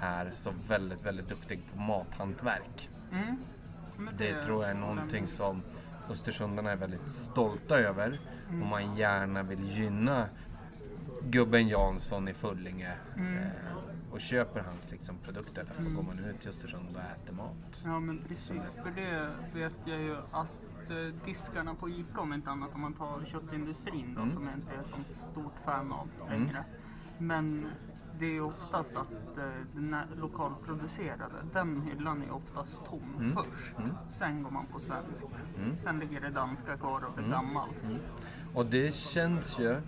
Speaker 16: är så väldigt, väldigt duktig på mathantverk.
Speaker 1: Mm. Men
Speaker 16: Det tror jag är någonting som Östersundarna är väldigt stolta över
Speaker 1: Mm.
Speaker 16: och man gärna vill gynna gubben Jansson i Fullinge
Speaker 1: Mm.
Speaker 16: eh, och köper hans liksom, produkter. Därför
Speaker 1: Mm.
Speaker 16: går man ut till Östersund och äter mat.
Speaker 1: Ja men precis, för det vet jag ju att eh, diskarna på ICA om inte annat om man tar köttindustrin då
Speaker 16: Mm.
Speaker 1: som jag inte är så stort fan av
Speaker 16: Mm.
Speaker 1: längre. Men det är ju oftast att eh, den här lokalproducerade, den hyllan är oftast tom
Speaker 16: Mm.
Speaker 1: först.
Speaker 16: Mm.
Speaker 1: Sen går man på svensk.
Speaker 16: Mm.
Speaker 1: Sen ligger det danska kvar och det
Speaker 16: Mm.
Speaker 1: gammalt.
Speaker 16: Mm. Och det känns ju,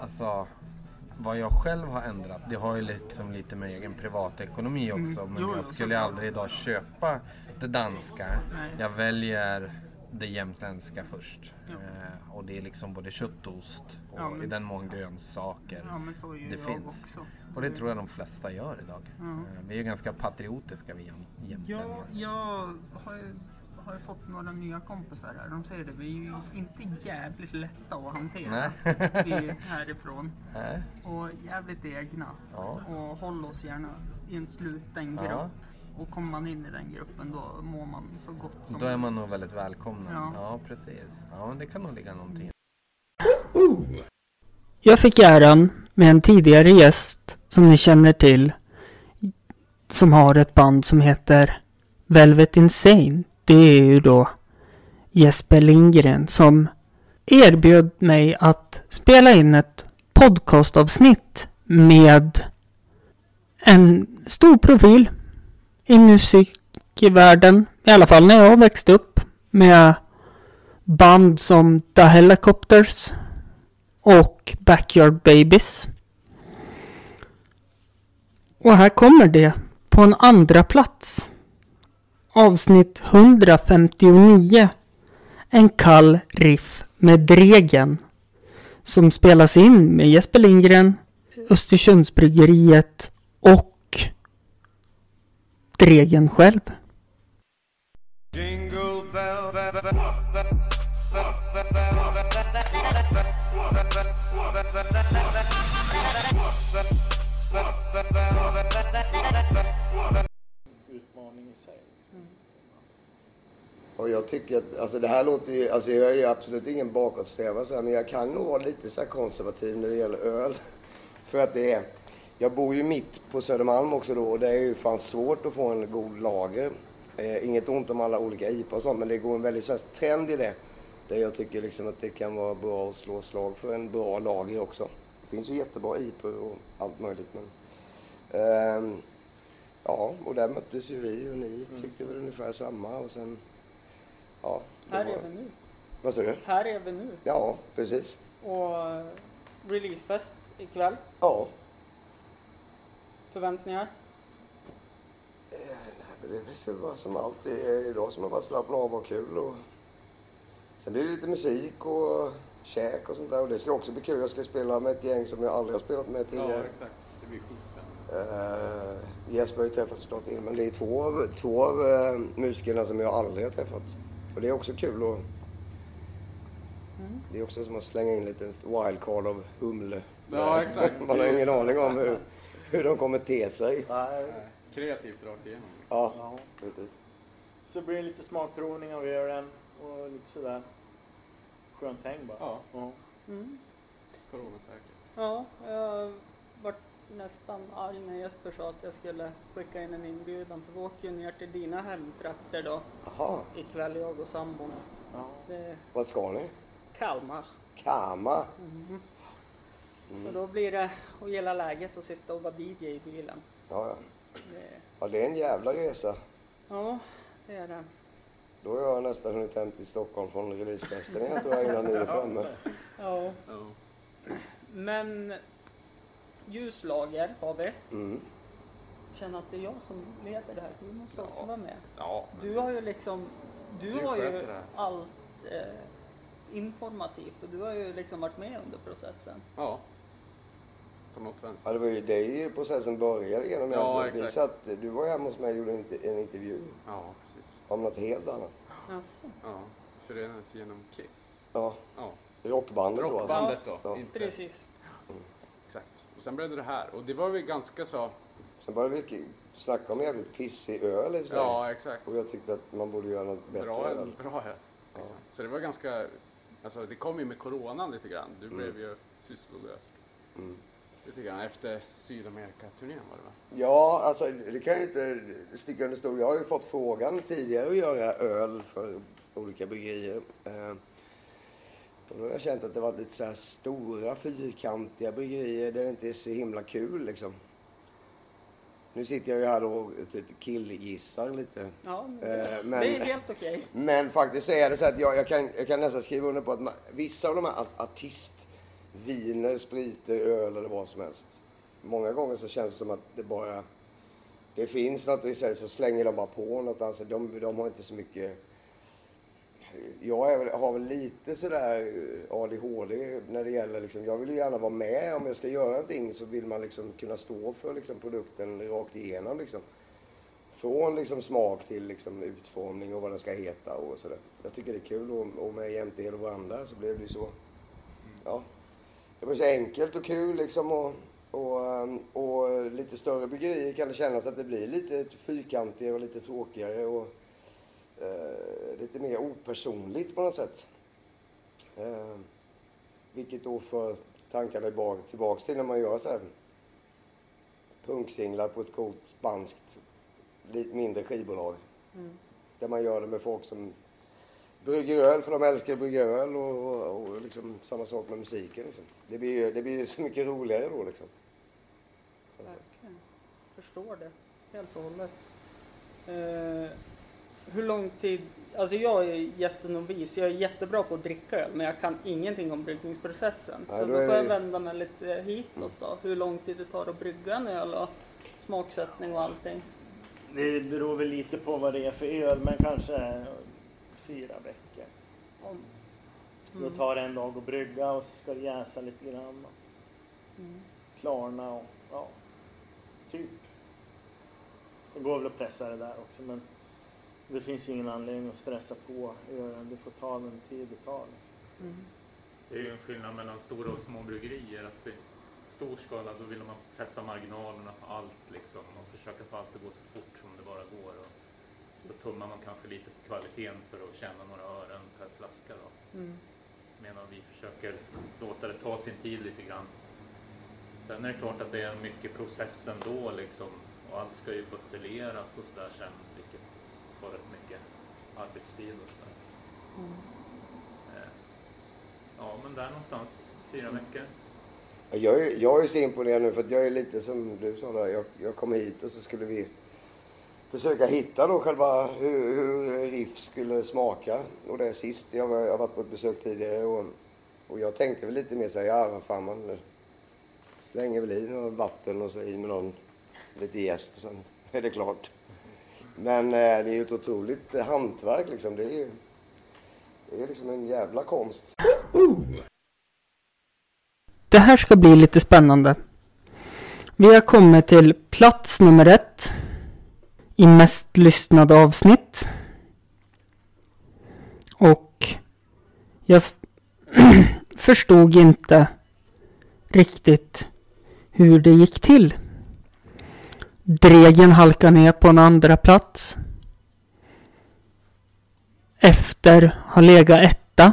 Speaker 16: alltså vad jag själv har ändrat, det har ju liksom lite med egen privatekonomi
Speaker 1: Mm.
Speaker 16: också. Men
Speaker 1: Jo, jo,
Speaker 16: jag skulle
Speaker 1: såklart.
Speaker 16: aldrig idag köpa det danska.
Speaker 1: Nej.
Speaker 16: Jag väljer det jämtländska först. Eh, och det är liksom både kött och ost och
Speaker 1: Ja, men-
Speaker 16: i den mån grönsaker.
Speaker 1: Ja, men så gör
Speaker 16: det
Speaker 1: jag
Speaker 16: finns.
Speaker 1: också.
Speaker 16: Och det tror jag de flesta gör idag.
Speaker 1: Ja.
Speaker 16: Eh, vi är ju ganska patriotiska vi jäm- jämtlänningar.
Speaker 1: Ja, jag har ju, har ju fått några nya kompisar här. De säger det, vi är ju inte jävligt lätta att hantera.
Speaker 16: Nej.
Speaker 1: Vi är härifrån.
Speaker 16: Nej.
Speaker 1: Och jävligt egna.
Speaker 16: Ja.
Speaker 1: Och håll oss gärna i en sluten
Speaker 16: Ja.
Speaker 1: grupp. Och kommer man in i den gruppen då mår man så gott som
Speaker 16: Då är man nog väldigt välkomnad.
Speaker 1: Ja.
Speaker 16: Ja, precis. Ja, men det kan nog ligga någonting i
Speaker 17: Jag fick äran med en tidigare gäst som ni känner till. Som har ett band som heter Velvet Insane. Det är ju då Jesper Lindgren som erbjöd mig att spela in ett podcastavsnitt med en stor profil i musikvärlden. I alla fall när jag växte upp med band som The Helicopters och Backyard Babies. Och här kommer det på en andra plats. Avsnitt 159. En kall riff med Dregen. Som spelas in med Jesper Lindgren, Östersundsbryggeriet och Dregen själv.
Speaker 18: Jingle bell,
Speaker 19: Utmaning i sig. liksom.
Speaker 20: Och jag tycker att, alltså det här låter ju, alltså jag är ju absolut ingen bakåtsträvare så här, men jag kan nog vara lite så här konservativ när det gäller öl. För att det är, jag bor ju mitt på Södermalm också då och det är ju fan svårt att få en god lager. Eh, inget ont om alla olika IPA och sånt men det går en väldigt så här, trend i det. Där jag tycker liksom att det kan vara bra att slå slag för en bra lager också. Det finns ju jättebra IPA och allt möjligt men. Ehm, ja, och där möttes ju vi och ni
Speaker 1: Mm.
Speaker 20: tyckte väl ungefär samma och sen Ja, det
Speaker 1: Här
Speaker 20: var-
Speaker 1: är vi nu.
Speaker 20: Vad sa du?
Speaker 1: Här är vi nu.
Speaker 20: Ja, precis.
Speaker 1: Och releasefest ikväll.
Speaker 20: Ja.
Speaker 1: Förväntningar?
Speaker 20: Det är väl så bara som alltid är idag som har varit slappna av och kul och Sen blir det lite musik och käk och sånt där. Och det ska också bli kul. Jag ska spela med ett gäng som jag aldrig har spelat med tidigare.
Speaker 15: exakt. Det blir skitspännande.
Speaker 20: Eh, Jesper har ju träffat såklart innan, men det är två av, två av eh, musikerna som jag aldrig har träffat. Och det är också kul och det är också som att slänga in lite wildcard av Humle.
Speaker 15: Ja, exakt.
Speaker 20: Man har ingen aning om hur, hur de kommer te sig.
Speaker 19: Eh,
Speaker 15: Kreativt rakt igenom.
Speaker 20: Ja,
Speaker 19: Ja.
Speaker 20: precis.
Speaker 19: Så blir det lite smakprovning av ölen och lite sådär. Skönt häng bara.
Speaker 15: Ja.
Speaker 19: Mm.
Speaker 15: Coronasäkert.
Speaker 1: Ja, jag vart nästan arg när Jesper sa att jag skulle skicka in en inbjudan för vi åker ju ner till dina hemtrakter då.
Speaker 20: Jaha,
Speaker 1: Ikväll jag och sambon. Det är
Speaker 20: vad ska ni?
Speaker 1: Kalmar.
Speaker 20: Kama?
Speaker 1: Mhm. Så
Speaker 20: Mm.
Speaker 1: då blir det att gilla läget och sitta och vara DJ i bilen.
Speaker 20: Ja, ja.
Speaker 1: Det,
Speaker 20: ja, det är en jävla resa.
Speaker 1: ja, det är det.
Speaker 20: Då har jag nästan hunnit hem till Stockholm från releasefesten igen tror jag innan ni är framme.
Speaker 1: Ja. Men ljuslager har vi.
Speaker 20: Mm.
Speaker 1: Känner att det är jag som leder det här. Du måste också vara med.
Speaker 15: Ja.
Speaker 1: Du har ju liksom, du,
Speaker 15: Du
Speaker 1: har ju
Speaker 15: sköter det här.
Speaker 1: allt eh, informativt och du har ju liksom varit med under processen.
Speaker 15: Ja. På något vänster.
Speaker 20: Ja, det var ju dig processen började genom.
Speaker 15: Ja,
Speaker 20: Ja, vi
Speaker 15: exakt.
Speaker 20: satt, du var ju hemma hos mig och gjorde en, inte- en intervju
Speaker 15: Ja, precis.
Speaker 20: om något helt annat.
Speaker 1: Alltså.
Speaker 15: Ja. Förenas genom Kiss.
Speaker 20: Ja,
Speaker 15: Ja.
Speaker 20: rockbandet då. alltså.
Speaker 15: Rockbandet då.
Speaker 20: Ja. Mm.
Speaker 15: Inte.
Speaker 1: Precis.
Speaker 15: Exakt. Och sen blev det det här. Och det var väl ganska så...
Speaker 20: Sen började vi k- snacka om jävligt pissig öl i och för sig.
Speaker 15: Ja, exakt.
Speaker 20: Och jag tyckte att man borde göra något bättre
Speaker 15: Bra öl.
Speaker 20: öl.
Speaker 15: Bra öl. Liksom. Så det var ganska... Alltså det kom ju med coronan lite grann. Du
Speaker 20: Mm.
Speaker 15: blev ju sysslolös.
Speaker 20: Mm.
Speaker 15: Lite grann efter Sydamerika-turnén var det va?
Speaker 20: Ja, alltså det kan ju inte sticka under stol. Jag har ju fått frågan tidigare att göra öl för olika bryggerier. Eh, och då har jag känt att det varit lite så här stora fyrkantiga bryggerier där det inte är så himla kul liksom. Nu sitter jag ju här då och typ killgissar lite.
Speaker 1: Ja, men
Speaker 20: Eh,
Speaker 1: det är helt okej.
Speaker 20: Men faktiskt så är det så att jag, jag, kan, jag kan nästan skriva under på att man, vissa av de här a- artistviner, spriter, öl eller vad som helst. Många gånger så känns det som att det bara... Det finns något i sig så slänger de bara på något. Alltså de, de har inte så mycket... Jag är, väl- har väl lite eh, sådär ADHD när det gäller liksom, jag vill ju gärna vara med om jag ska göra någonting så vill man liksom kunna stå för liksom produkten rakt igenom liksom. Från liksom smak till liksom utformning och vad den ska heta och sådär. Jag tycker det är kul och, och med jämte hela varandra så blev det ju så. Ja. Det var så enkelt och kul liksom och, och, ehm, och lite större bryggerier kan det kännas att det blir lite fyrkantigare och lite tråkigare och eh, lite mer opersonligt på något sätt. Eh, vilket då för tankarna bak- tillbaks till när man gör så här punksinglar på ett coolt spanskt lite mindre skivbolag.
Speaker 1: Mm.
Speaker 20: Där man gör det med folk som brygger öl för de älskar att brygga öl och, och, och liksom samma sak med musiken. Liksom. Det, blir, ju- det blir ju så mycket roligare då liksom.
Speaker 1: Verkligen. Förstår det helt och hållet. Eh, hur lång tid... Alltså jag är jättenovis. Jag är jättebra på att dricka öl men jag kan ingenting om bryggningsprocessen.
Speaker 20: Nej,
Speaker 1: så
Speaker 20: då
Speaker 1: då
Speaker 20: är
Speaker 1: får jag
Speaker 20: det- Mm.
Speaker 1: vända mig lite hitåt då. Hur lång tid det tar att brygga en öl och smaksättning och allting.
Speaker 19: Det beror väl lite på vad det är för öl men kanske fyra veckor.
Speaker 1: Om-
Speaker 19: Då tar det en dag att brygga och så ska det jäsa lite grann. Och
Speaker 1: Mm.
Speaker 19: klarna och ja, typ. Det går väl att pressa det där också men det finns ju ingen anledning att stressa på ölen. Det får ta den tid det tar. Liksom.
Speaker 1: Mm.
Speaker 21: Det är ju en skillnad mellan stora och små bryggerier. Att i stor skala då vill man pressa marginalerna på allt liksom. Man försöker få allt att gå så fort som det bara går. Och då tummar man kanske lite på kvaliteten för att tjäna några ören per flaska. Då.
Speaker 1: Mm.
Speaker 21: Medan vi försöker låta det ta sin tid lite grann. Sen är det klart att det är mycket process ändå liksom. Och allt ska ju buteljeras och sådär sen. Vilket tar rätt mycket arbetstid och sådär.
Speaker 15: 어.
Speaker 21: Eh, Ja, men där någonstans. Fyra veckor.
Speaker 20: Jag är, jag är så imponerad nu för att jag är lite som du sa där. Jag, jag kom hit och så skulle vi försöka hitta då själva hur, hur riff skulle smaka. Och det är sist. Jag var- jag har varit på ett besök tidigare och, och jag tänkte väl lite mer så här, ja vad fan man slänger väl i några vatten och så i med någon lite jäst och sen är det klart. Men eh, det är ju ett otroligt hantverk liksom. Det är ju, Det är liksom en jävla konst.
Speaker 1: Det här ska bli lite spännande. Vi har kommit till plats nummer ett i mest lyssnade avsnitt. Och jag f- förstod inte riktigt hur det gick till. Dregen halkade ner på en andra plats. Efter har legat etta.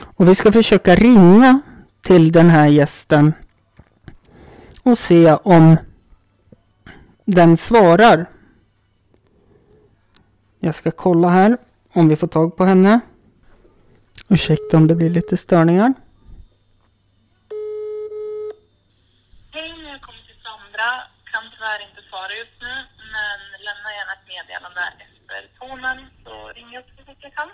Speaker 1: Och vi ska försöka ringa till den här gästen och se om den svarar. Jag ska kolla här om vi får tag på henne. Ursäkta om det blir lite störningar.
Speaker 22: Hej, jag kommer till Sandra. Kan tyvärr inte svara just nu, men lämna gärna ett meddelande efter tonen så ringer jag upp så fort jag kan.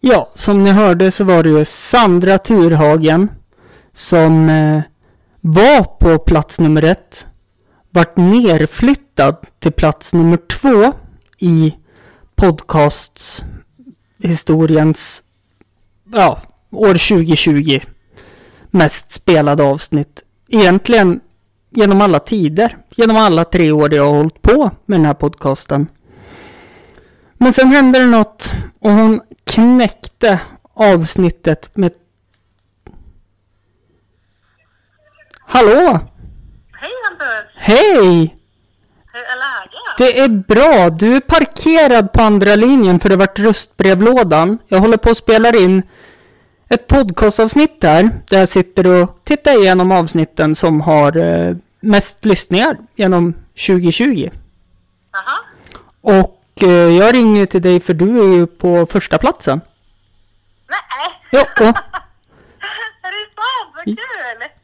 Speaker 1: Ja, som ni hörde så var det ju Sandra Thurhagen som eh, var på plats nummer ett. Vart nerflyttad till plats nummer två i podcasthistoriens, ja, år 2020 mest spelade avsnitt. Egentligen genom alla tider, genom alla tre år jag har hållit på med den här podcasten. Men sen hände det något och hon knäckte avsnittet med... Hallå!
Speaker 22: Hej Hampus!
Speaker 1: Hej!
Speaker 22: Hur är läget?
Speaker 1: Det är bra! Du är parkerad på andra linjen för det vart röstbrevlådan. Jag håller på att spela in ett podcastavsnitt där. Där jag sitter och tittar igenom avsnitten som har eh, mest lyssningar genom 2020. Och eh, jag ringer ju till dig för du är ju på första platsen.
Speaker 22: Nej! äh,
Speaker 1: Jo, och,
Speaker 22: Är det sant? Vad kul!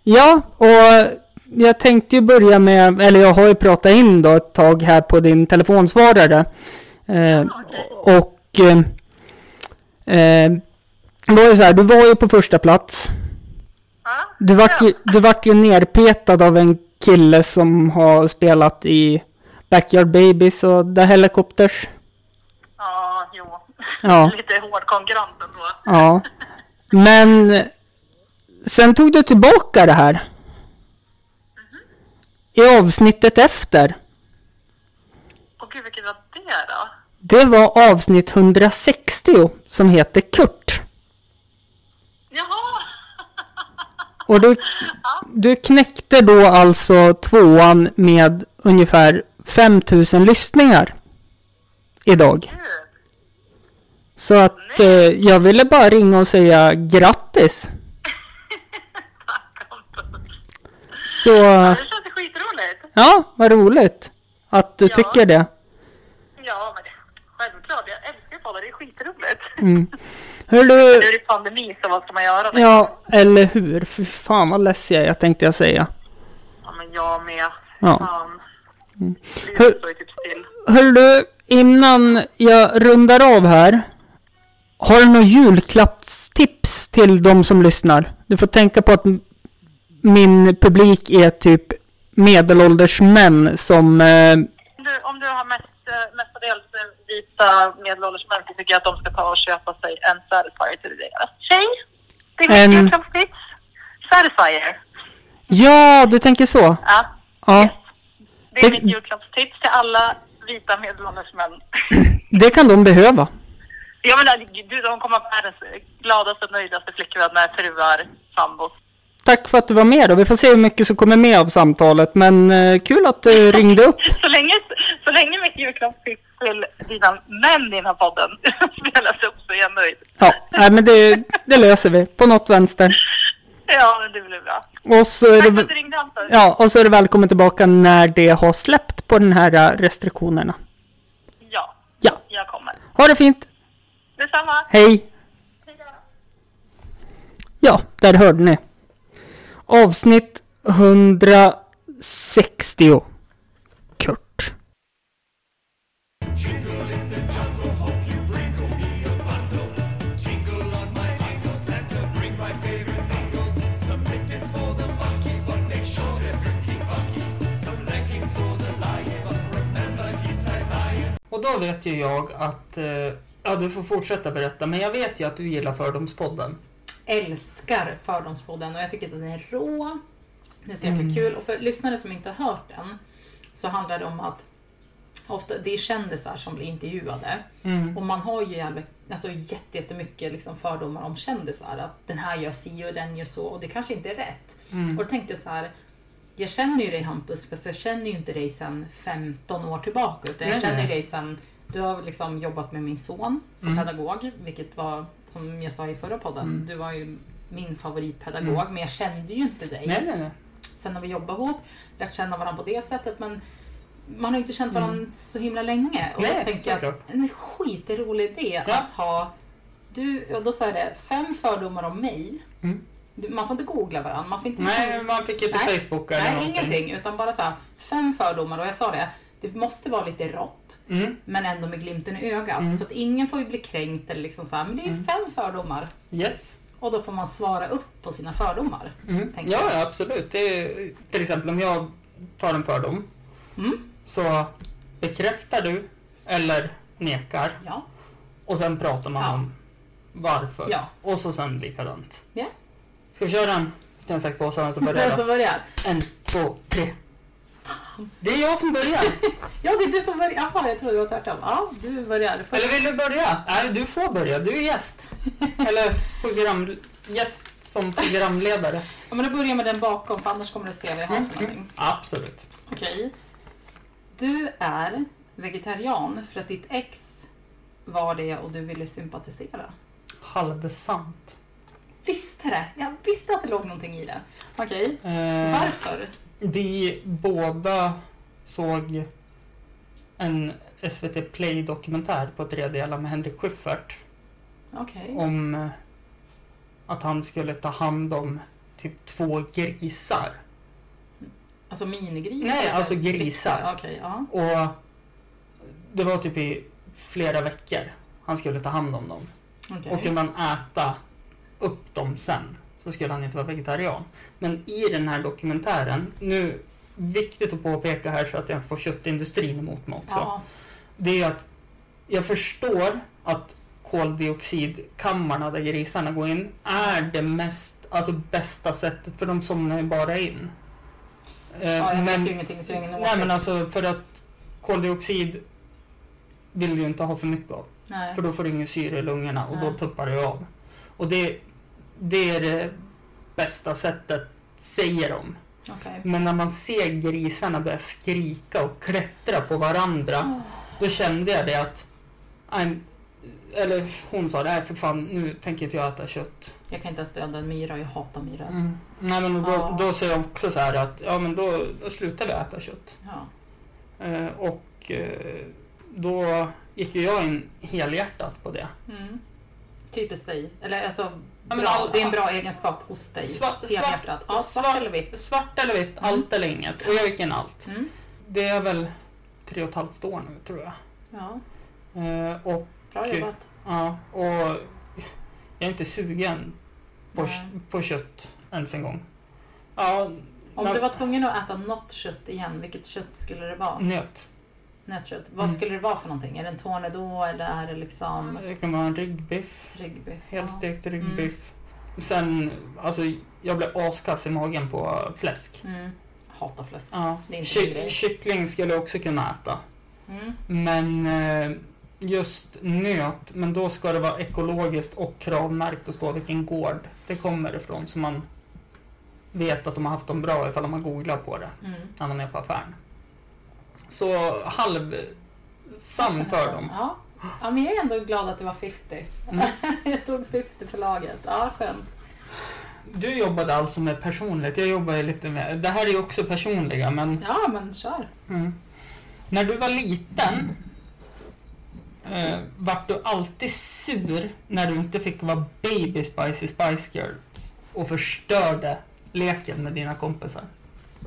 Speaker 1: ja, och jag tänkte ju börja med, eller jag har ju pratat in då ett tag här på din telefonsvarare. Eh, och eh, eh, det var ju så här, du var ju på första plats. Du vart, ju, du vart ju nerpetad av en kille som har spelat i Backyard Babies och The Helicopters.
Speaker 22: Ja, jo.
Speaker 1: Ja.
Speaker 22: Lite hård konkurrens ändå.
Speaker 1: Ja. Men sen tog du tillbaka det här. I avsnittet efter.
Speaker 22: Och gud, vilket var det då?
Speaker 1: Det var avsnitt 160 som heter Kurt.
Speaker 22: Jaha!
Speaker 1: Och du, du knäckte då alltså tvåan med ungefär 5000 lyssningar. Idag. Så att eh, jag ville bara ringa och säga grattis. Så...
Speaker 22: Ja, det känns skitroligt.
Speaker 1: Ja, vad roligt att du tycker det.
Speaker 22: Ja, men det, självklart. Jag älskar ju poddar. Det är skitroligt.
Speaker 1: Mm. Hör
Speaker 22: Men Nu
Speaker 1: du...
Speaker 22: är det pandemi, så vad ska man göra? då?
Speaker 1: Ja, eller hur? Fy fan vad less jag är, tänkte jag säga.
Speaker 22: ja men jag med.
Speaker 1: Ja.
Speaker 22: Fan.
Speaker 1: Mm.
Speaker 22: Livet står ju typ still.
Speaker 1: Hör du, innan jag rundar av här. Har du några julklappstips till de som lyssnar? Du får tänka på att m- min publik är typ medelålders män som... Eh,
Speaker 22: Om du, om du har mest, eh, mestadels eh, vita medelålders män så tycker jag att de ska ta och köpa sig en Satisfyer till deras tjej. Det är
Speaker 1: En-
Speaker 22: mitt julklappstips. Satisfyer.
Speaker 1: ja, du tänker så?
Speaker 22: Ja.
Speaker 1: Ja.
Speaker 22: Det är
Speaker 1: Det-
Speaker 22: mitt julklappstips till alla vita medelålders män.
Speaker 1: Det kan de behöva.
Speaker 22: Jag menar, du, de kommer vara världens gladaste och nöjdaste flickvänner, fruar, sambos.
Speaker 1: Tack för att du var med då. Vi får se hur mycket som kommer med av samtalet. Men eh, kul att du ringde upp.
Speaker 22: Så länge, så länge mitt julklappstips till dina män i den här podden spelas upp så är jag nöjd.
Speaker 1: Ja, nej, men det, det löser vi på något vänster.
Speaker 22: Ja, men det blir bra.
Speaker 1: Och så, är
Speaker 22: Tack för att du
Speaker 1: det,
Speaker 22: ringde, Hampus.
Speaker 1: ja, och så är det välkommen tillbaka när det har släppt på den här eh, restriktionerna.
Speaker 22: Ja,
Speaker 1: Ja,
Speaker 22: jag kommer.
Speaker 1: ha det fint.
Speaker 22: Detsamma.
Speaker 1: Hej! Ja, där hörde ni. Avsnitt 160. Kurt. då vet ju jag att... eh, Ja, du får fortsätta berätta, men jag vet ju att du gillar Fördomspodden.
Speaker 23: älskar Fördomspodden och jag tycker att den är rå. Den är så jäkla
Speaker 1: Mm.
Speaker 23: kul. Och för lyssnare som inte har hört den så handlar det om att ofta, det är kändisar som blir intervjuade.
Speaker 1: Mm.
Speaker 23: Och man har ju jävla, alltså, jätte- jättemycket liksom fördomar om kändisar. Att den här gör si och den gör så och det kanske inte är rätt.
Speaker 1: Mm.
Speaker 23: Och då tänkte jag så här. Jag känner ju dig Hampus, fast jag känner ju inte dig sedan 15 år tillbaka. Utan jag
Speaker 1: Nej,
Speaker 23: känner ju
Speaker 1: nej.
Speaker 23: dig sedan... Du har liksom jobbat med min son som
Speaker 1: Mm.
Speaker 23: pedagog, vilket var som jag sa i förra podden.
Speaker 1: Mm.
Speaker 23: Du var ju min favoritpedagog,
Speaker 1: Mm.
Speaker 23: men jag kände ju inte dig.
Speaker 1: Nej, nej, nej.
Speaker 23: Sen har vi jobbat ihop, lärt känna varandra på det sättet, men man har ju inte känt varandra
Speaker 1: Mm.
Speaker 23: så himla länge. Och
Speaker 1: Nej,
Speaker 23: jag tänker jag
Speaker 1: såklart.
Speaker 23: att en skitrolig idé att ha... Du, och då sa jag det, fem fördomar om mig. Du, man får inte googla varandra. Man får inte
Speaker 1: Mm.
Speaker 23: liksom-
Speaker 1: Nej, man fick inte
Speaker 23: Nej.
Speaker 1: Facebooka eller
Speaker 23: Nej,
Speaker 1: någonting.
Speaker 23: ingenting. Utan bara så här, fem fördomar. Och jag sa det, det måste vara lite rått. Men ändå med glimten i ögat.
Speaker 1: Mm.
Speaker 23: Så att ingen får ju bli kränkt eller liksom så här, men det är ju fem fördomar.
Speaker 1: Yes.
Speaker 23: Och då får man svara upp på sina fördomar.
Speaker 1: Mm.
Speaker 23: tänker
Speaker 1: Ja,
Speaker 23: jag.
Speaker 1: ja, absolut. Det är, till exempel om jag tar en fördom
Speaker 23: Mm.
Speaker 1: så bekräftar du eller nekar.
Speaker 23: Ja.
Speaker 1: Och sen pratar man om varför.
Speaker 23: Ja.
Speaker 1: Och så sen likadant.
Speaker 23: Ja.
Speaker 1: Ska vi köra en sten, sax, påse? Vem som börjar?
Speaker 23: Vem som
Speaker 1: då?
Speaker 23: börjar?
Speaker 1: En, två, tre. Det är jag som börjar.
Speaker 23: ja, det är du som börjar. Jaha, jag trodde det var tvärtom. Ja, du börjar. Du får-
Speaker 1: Eller vill du börja? Nej, du får börja. Du är gäst. Eller program, gäst som programledare.
Speaker 23: Ja, men då börjar jag med den bakom, för annars kommer du se vad jag har
Speaker 1: Mm,
Speaker 23: för någonting.
Speaker 1: Absolut.
Speaker 23: Okej. Du är vegetarian för att ditt ex var det och du ville sympatisera.
Speaker 1: Halvsant.
Speaker 23: Visste det! Jag visste att det låg någonting i det. Okej.
Speaker 1: Eh,
Speaker 23: Varför?
Speaker 1: Vi båda såg en SVT Play-dokumentär på tre delar med Henrik Schyffert
Speaker 23: Okej.
Speaker 1: om eh, att han skulle ta hand om typ två grisar.
Speaker 23: Alltså minigrisar?
Speaker 1: Nej,
Speaker 23: eller?
Speaker 1: alltså grisar.
Speaker 23: Okej, ja.
Speaker 1: Och det var typ i flera veckor han skulle ta hand om dem.
Speaker 23: Okej.
Speaker 1: Och kunde han äta upp dem sen så skulle han inte vara vegetarian. Men i den här dokumentären, nu viktigt att påpeka här så att jag inte får köttindustrin emot mig också.
Speaker 23: Ja.
Speaker 1: Det är att jag förstår att koldioxidkammarna där grisarna går in är det mest, alltså bästa sättet för de somnar ju bara in. Eh,
Speaker 23: Ja, jag vet ju ingenting, så jag har ingen
Speaker 1: Nej
Speaker 23: åsikt.
Speaker 1: men alltså för att koldioxid vill du ju inte ha för mycket av.
Speaker 23: Nej.
Speaker 1: För då får du ingen syre i lungorna och då
Speaker 23: Nej.
Speaker 1: tuppar det av. Och det, det är det bästa sättet, säger de.
Speaker 23: Okej.
Speaker 1: Men när man ser grisarna börja skrika och klättra på varandra, då kände jag det att... I'm, eller hon sa det här, för fan, nu tänker inte jag äta kött.
Speaker 23: Jag kan inte ens döda en myra, jag hatar myror.
Speaker 1: Mm. Nej, men då,
Speaker 23: Ja.
Speaker 1: då säger jag också så här att, ja men då, då slutar vi äta kött.
Speaker 23: Ja.
Speaker 1: Eh, och eh, då gick ju jag in helhjärtat på det.
Speaker 23: Mm. Typiskt dig. Eller alltså,
Speaker 1: Ja, men
Speaker 23: bra,
Speaker 1: all-
Speaker 23: det är en bra egenskap hos dig.
Speaker 1: Sva-
Speaker 23: Helhjärtat. Ja, svart, eller vitt. Mm.
Speaker 1: Svart eller vitt, allt eller inget. Och jag gick in allt. Det är väl tre och ett halvt år nu tror jag.
Speaker 23: Ja.
Speaker 1: Eh, och,
Speaker 23: Bra jobbat.
Speaker 1: Ja, och jag är inte sugen på, på kött ens en gång. Ja,
Speaker 23: Om
Speaker 1: när-
Speaker 23: du var tvungen att äta något kött igen, vilket kött skulle det vara?
Speaker 1: Nöt.
Speaker 23: Nötkött. Vad
Speaker 1: Mm.
Speaker 23: skulle det vara för någonting? Är det en tornedå eller är det liksom...
Speaker 1: Det kan vara en ryggbiff.
Speaker 23: Ryggbiff. Mm.
Speaker 1: Helstekt ryggbiff. Sen, alltså jag blev askass i magen på fläsk.
Speaker 23: Mm. Hatar fläsk.
Speaker 1: Ja.
Speaker 23: Det är inte min
Speaker 1: Ky-
Speaker 23: grej.
Speaker 1: kyckling skulle jag också kunna äta.
Speaker 23: Mm.
Speaker 1: Men eh, just nöt, men då ska det vara ekologiskt och kravmärkt och stå vilken gård det kommer ifrån så man vet att de har haft dem bra ifall man googlar på det
Speaker 23: Mm.
Speaker 1: när man är på affären. Så halv sann för dem.
Speaker 23: Ja. ja, men jag är ändå glad att det var 50.
Speaker 1: Mm.
Speaker 23: jag tog 50 för laget. Ja, skönt.
Speaker 1: Du jobbade alltså med personligt, jag jobbar ju lite med... Det här är ju också personliga men...
Speaker 23: Ja, men kör.
Speaker 1: Mm. När du var liten, eh, vart du alltid sur när du inte fick vara baby Spicy Spice Girls och förstörde leken med dina kompisar?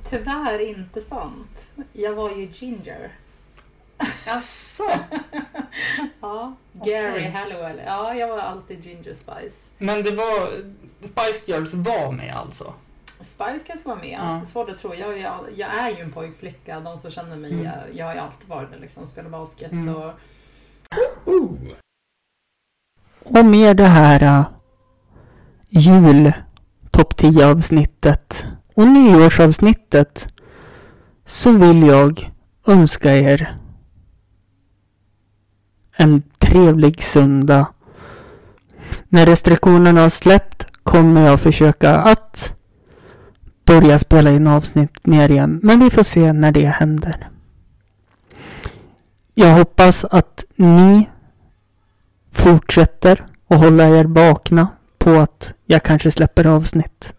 Speaker 23: Tyvärr inte sant. Jag var ju ginger.
Speaker 1: Jaså?
Speaker 23: ja, Gary
Speaker 1: Okej.
Speaker 23: Halliwell. Ja, jag var alltid ginger spice.
Speaker 1: Men det var... Spice Girls var med alltså?
Speaker 23: Spice kanske var med.
Speaker 3: Ja.
Speaker 23: Svårt att tro. Jag, jag, jag är ju en pojkflicka. De som känner mig,
Speaker 3: Mm.
Speaker 23: jag, jag har ju alltid varit det liksom. Spelar basket
Speaker 3: Mm.
Speaker 23: och...
Speaker 1: Och med det här eh, jul topp 10 avsnittet och nyårsavsnittet så vill jag önska er en trevlig söndag. När restriktionerna har släppt kommer jag försöka att börja spela in avsnitt mer igen. Men vi får se när det händer. Jag hoppas att ni fortsätter att hålla er vakna på att jag kanske släpper avsnitt.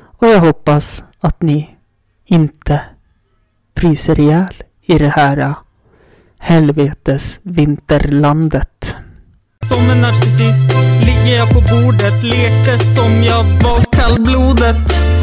Speaker 1: Och jag hoppas att ni inte fryser ihjäl i det här eh, helvetes vinterlandet.
Speaker 11: Som en narcissist ligger jag på bordet, lekte som jag var kallblodet.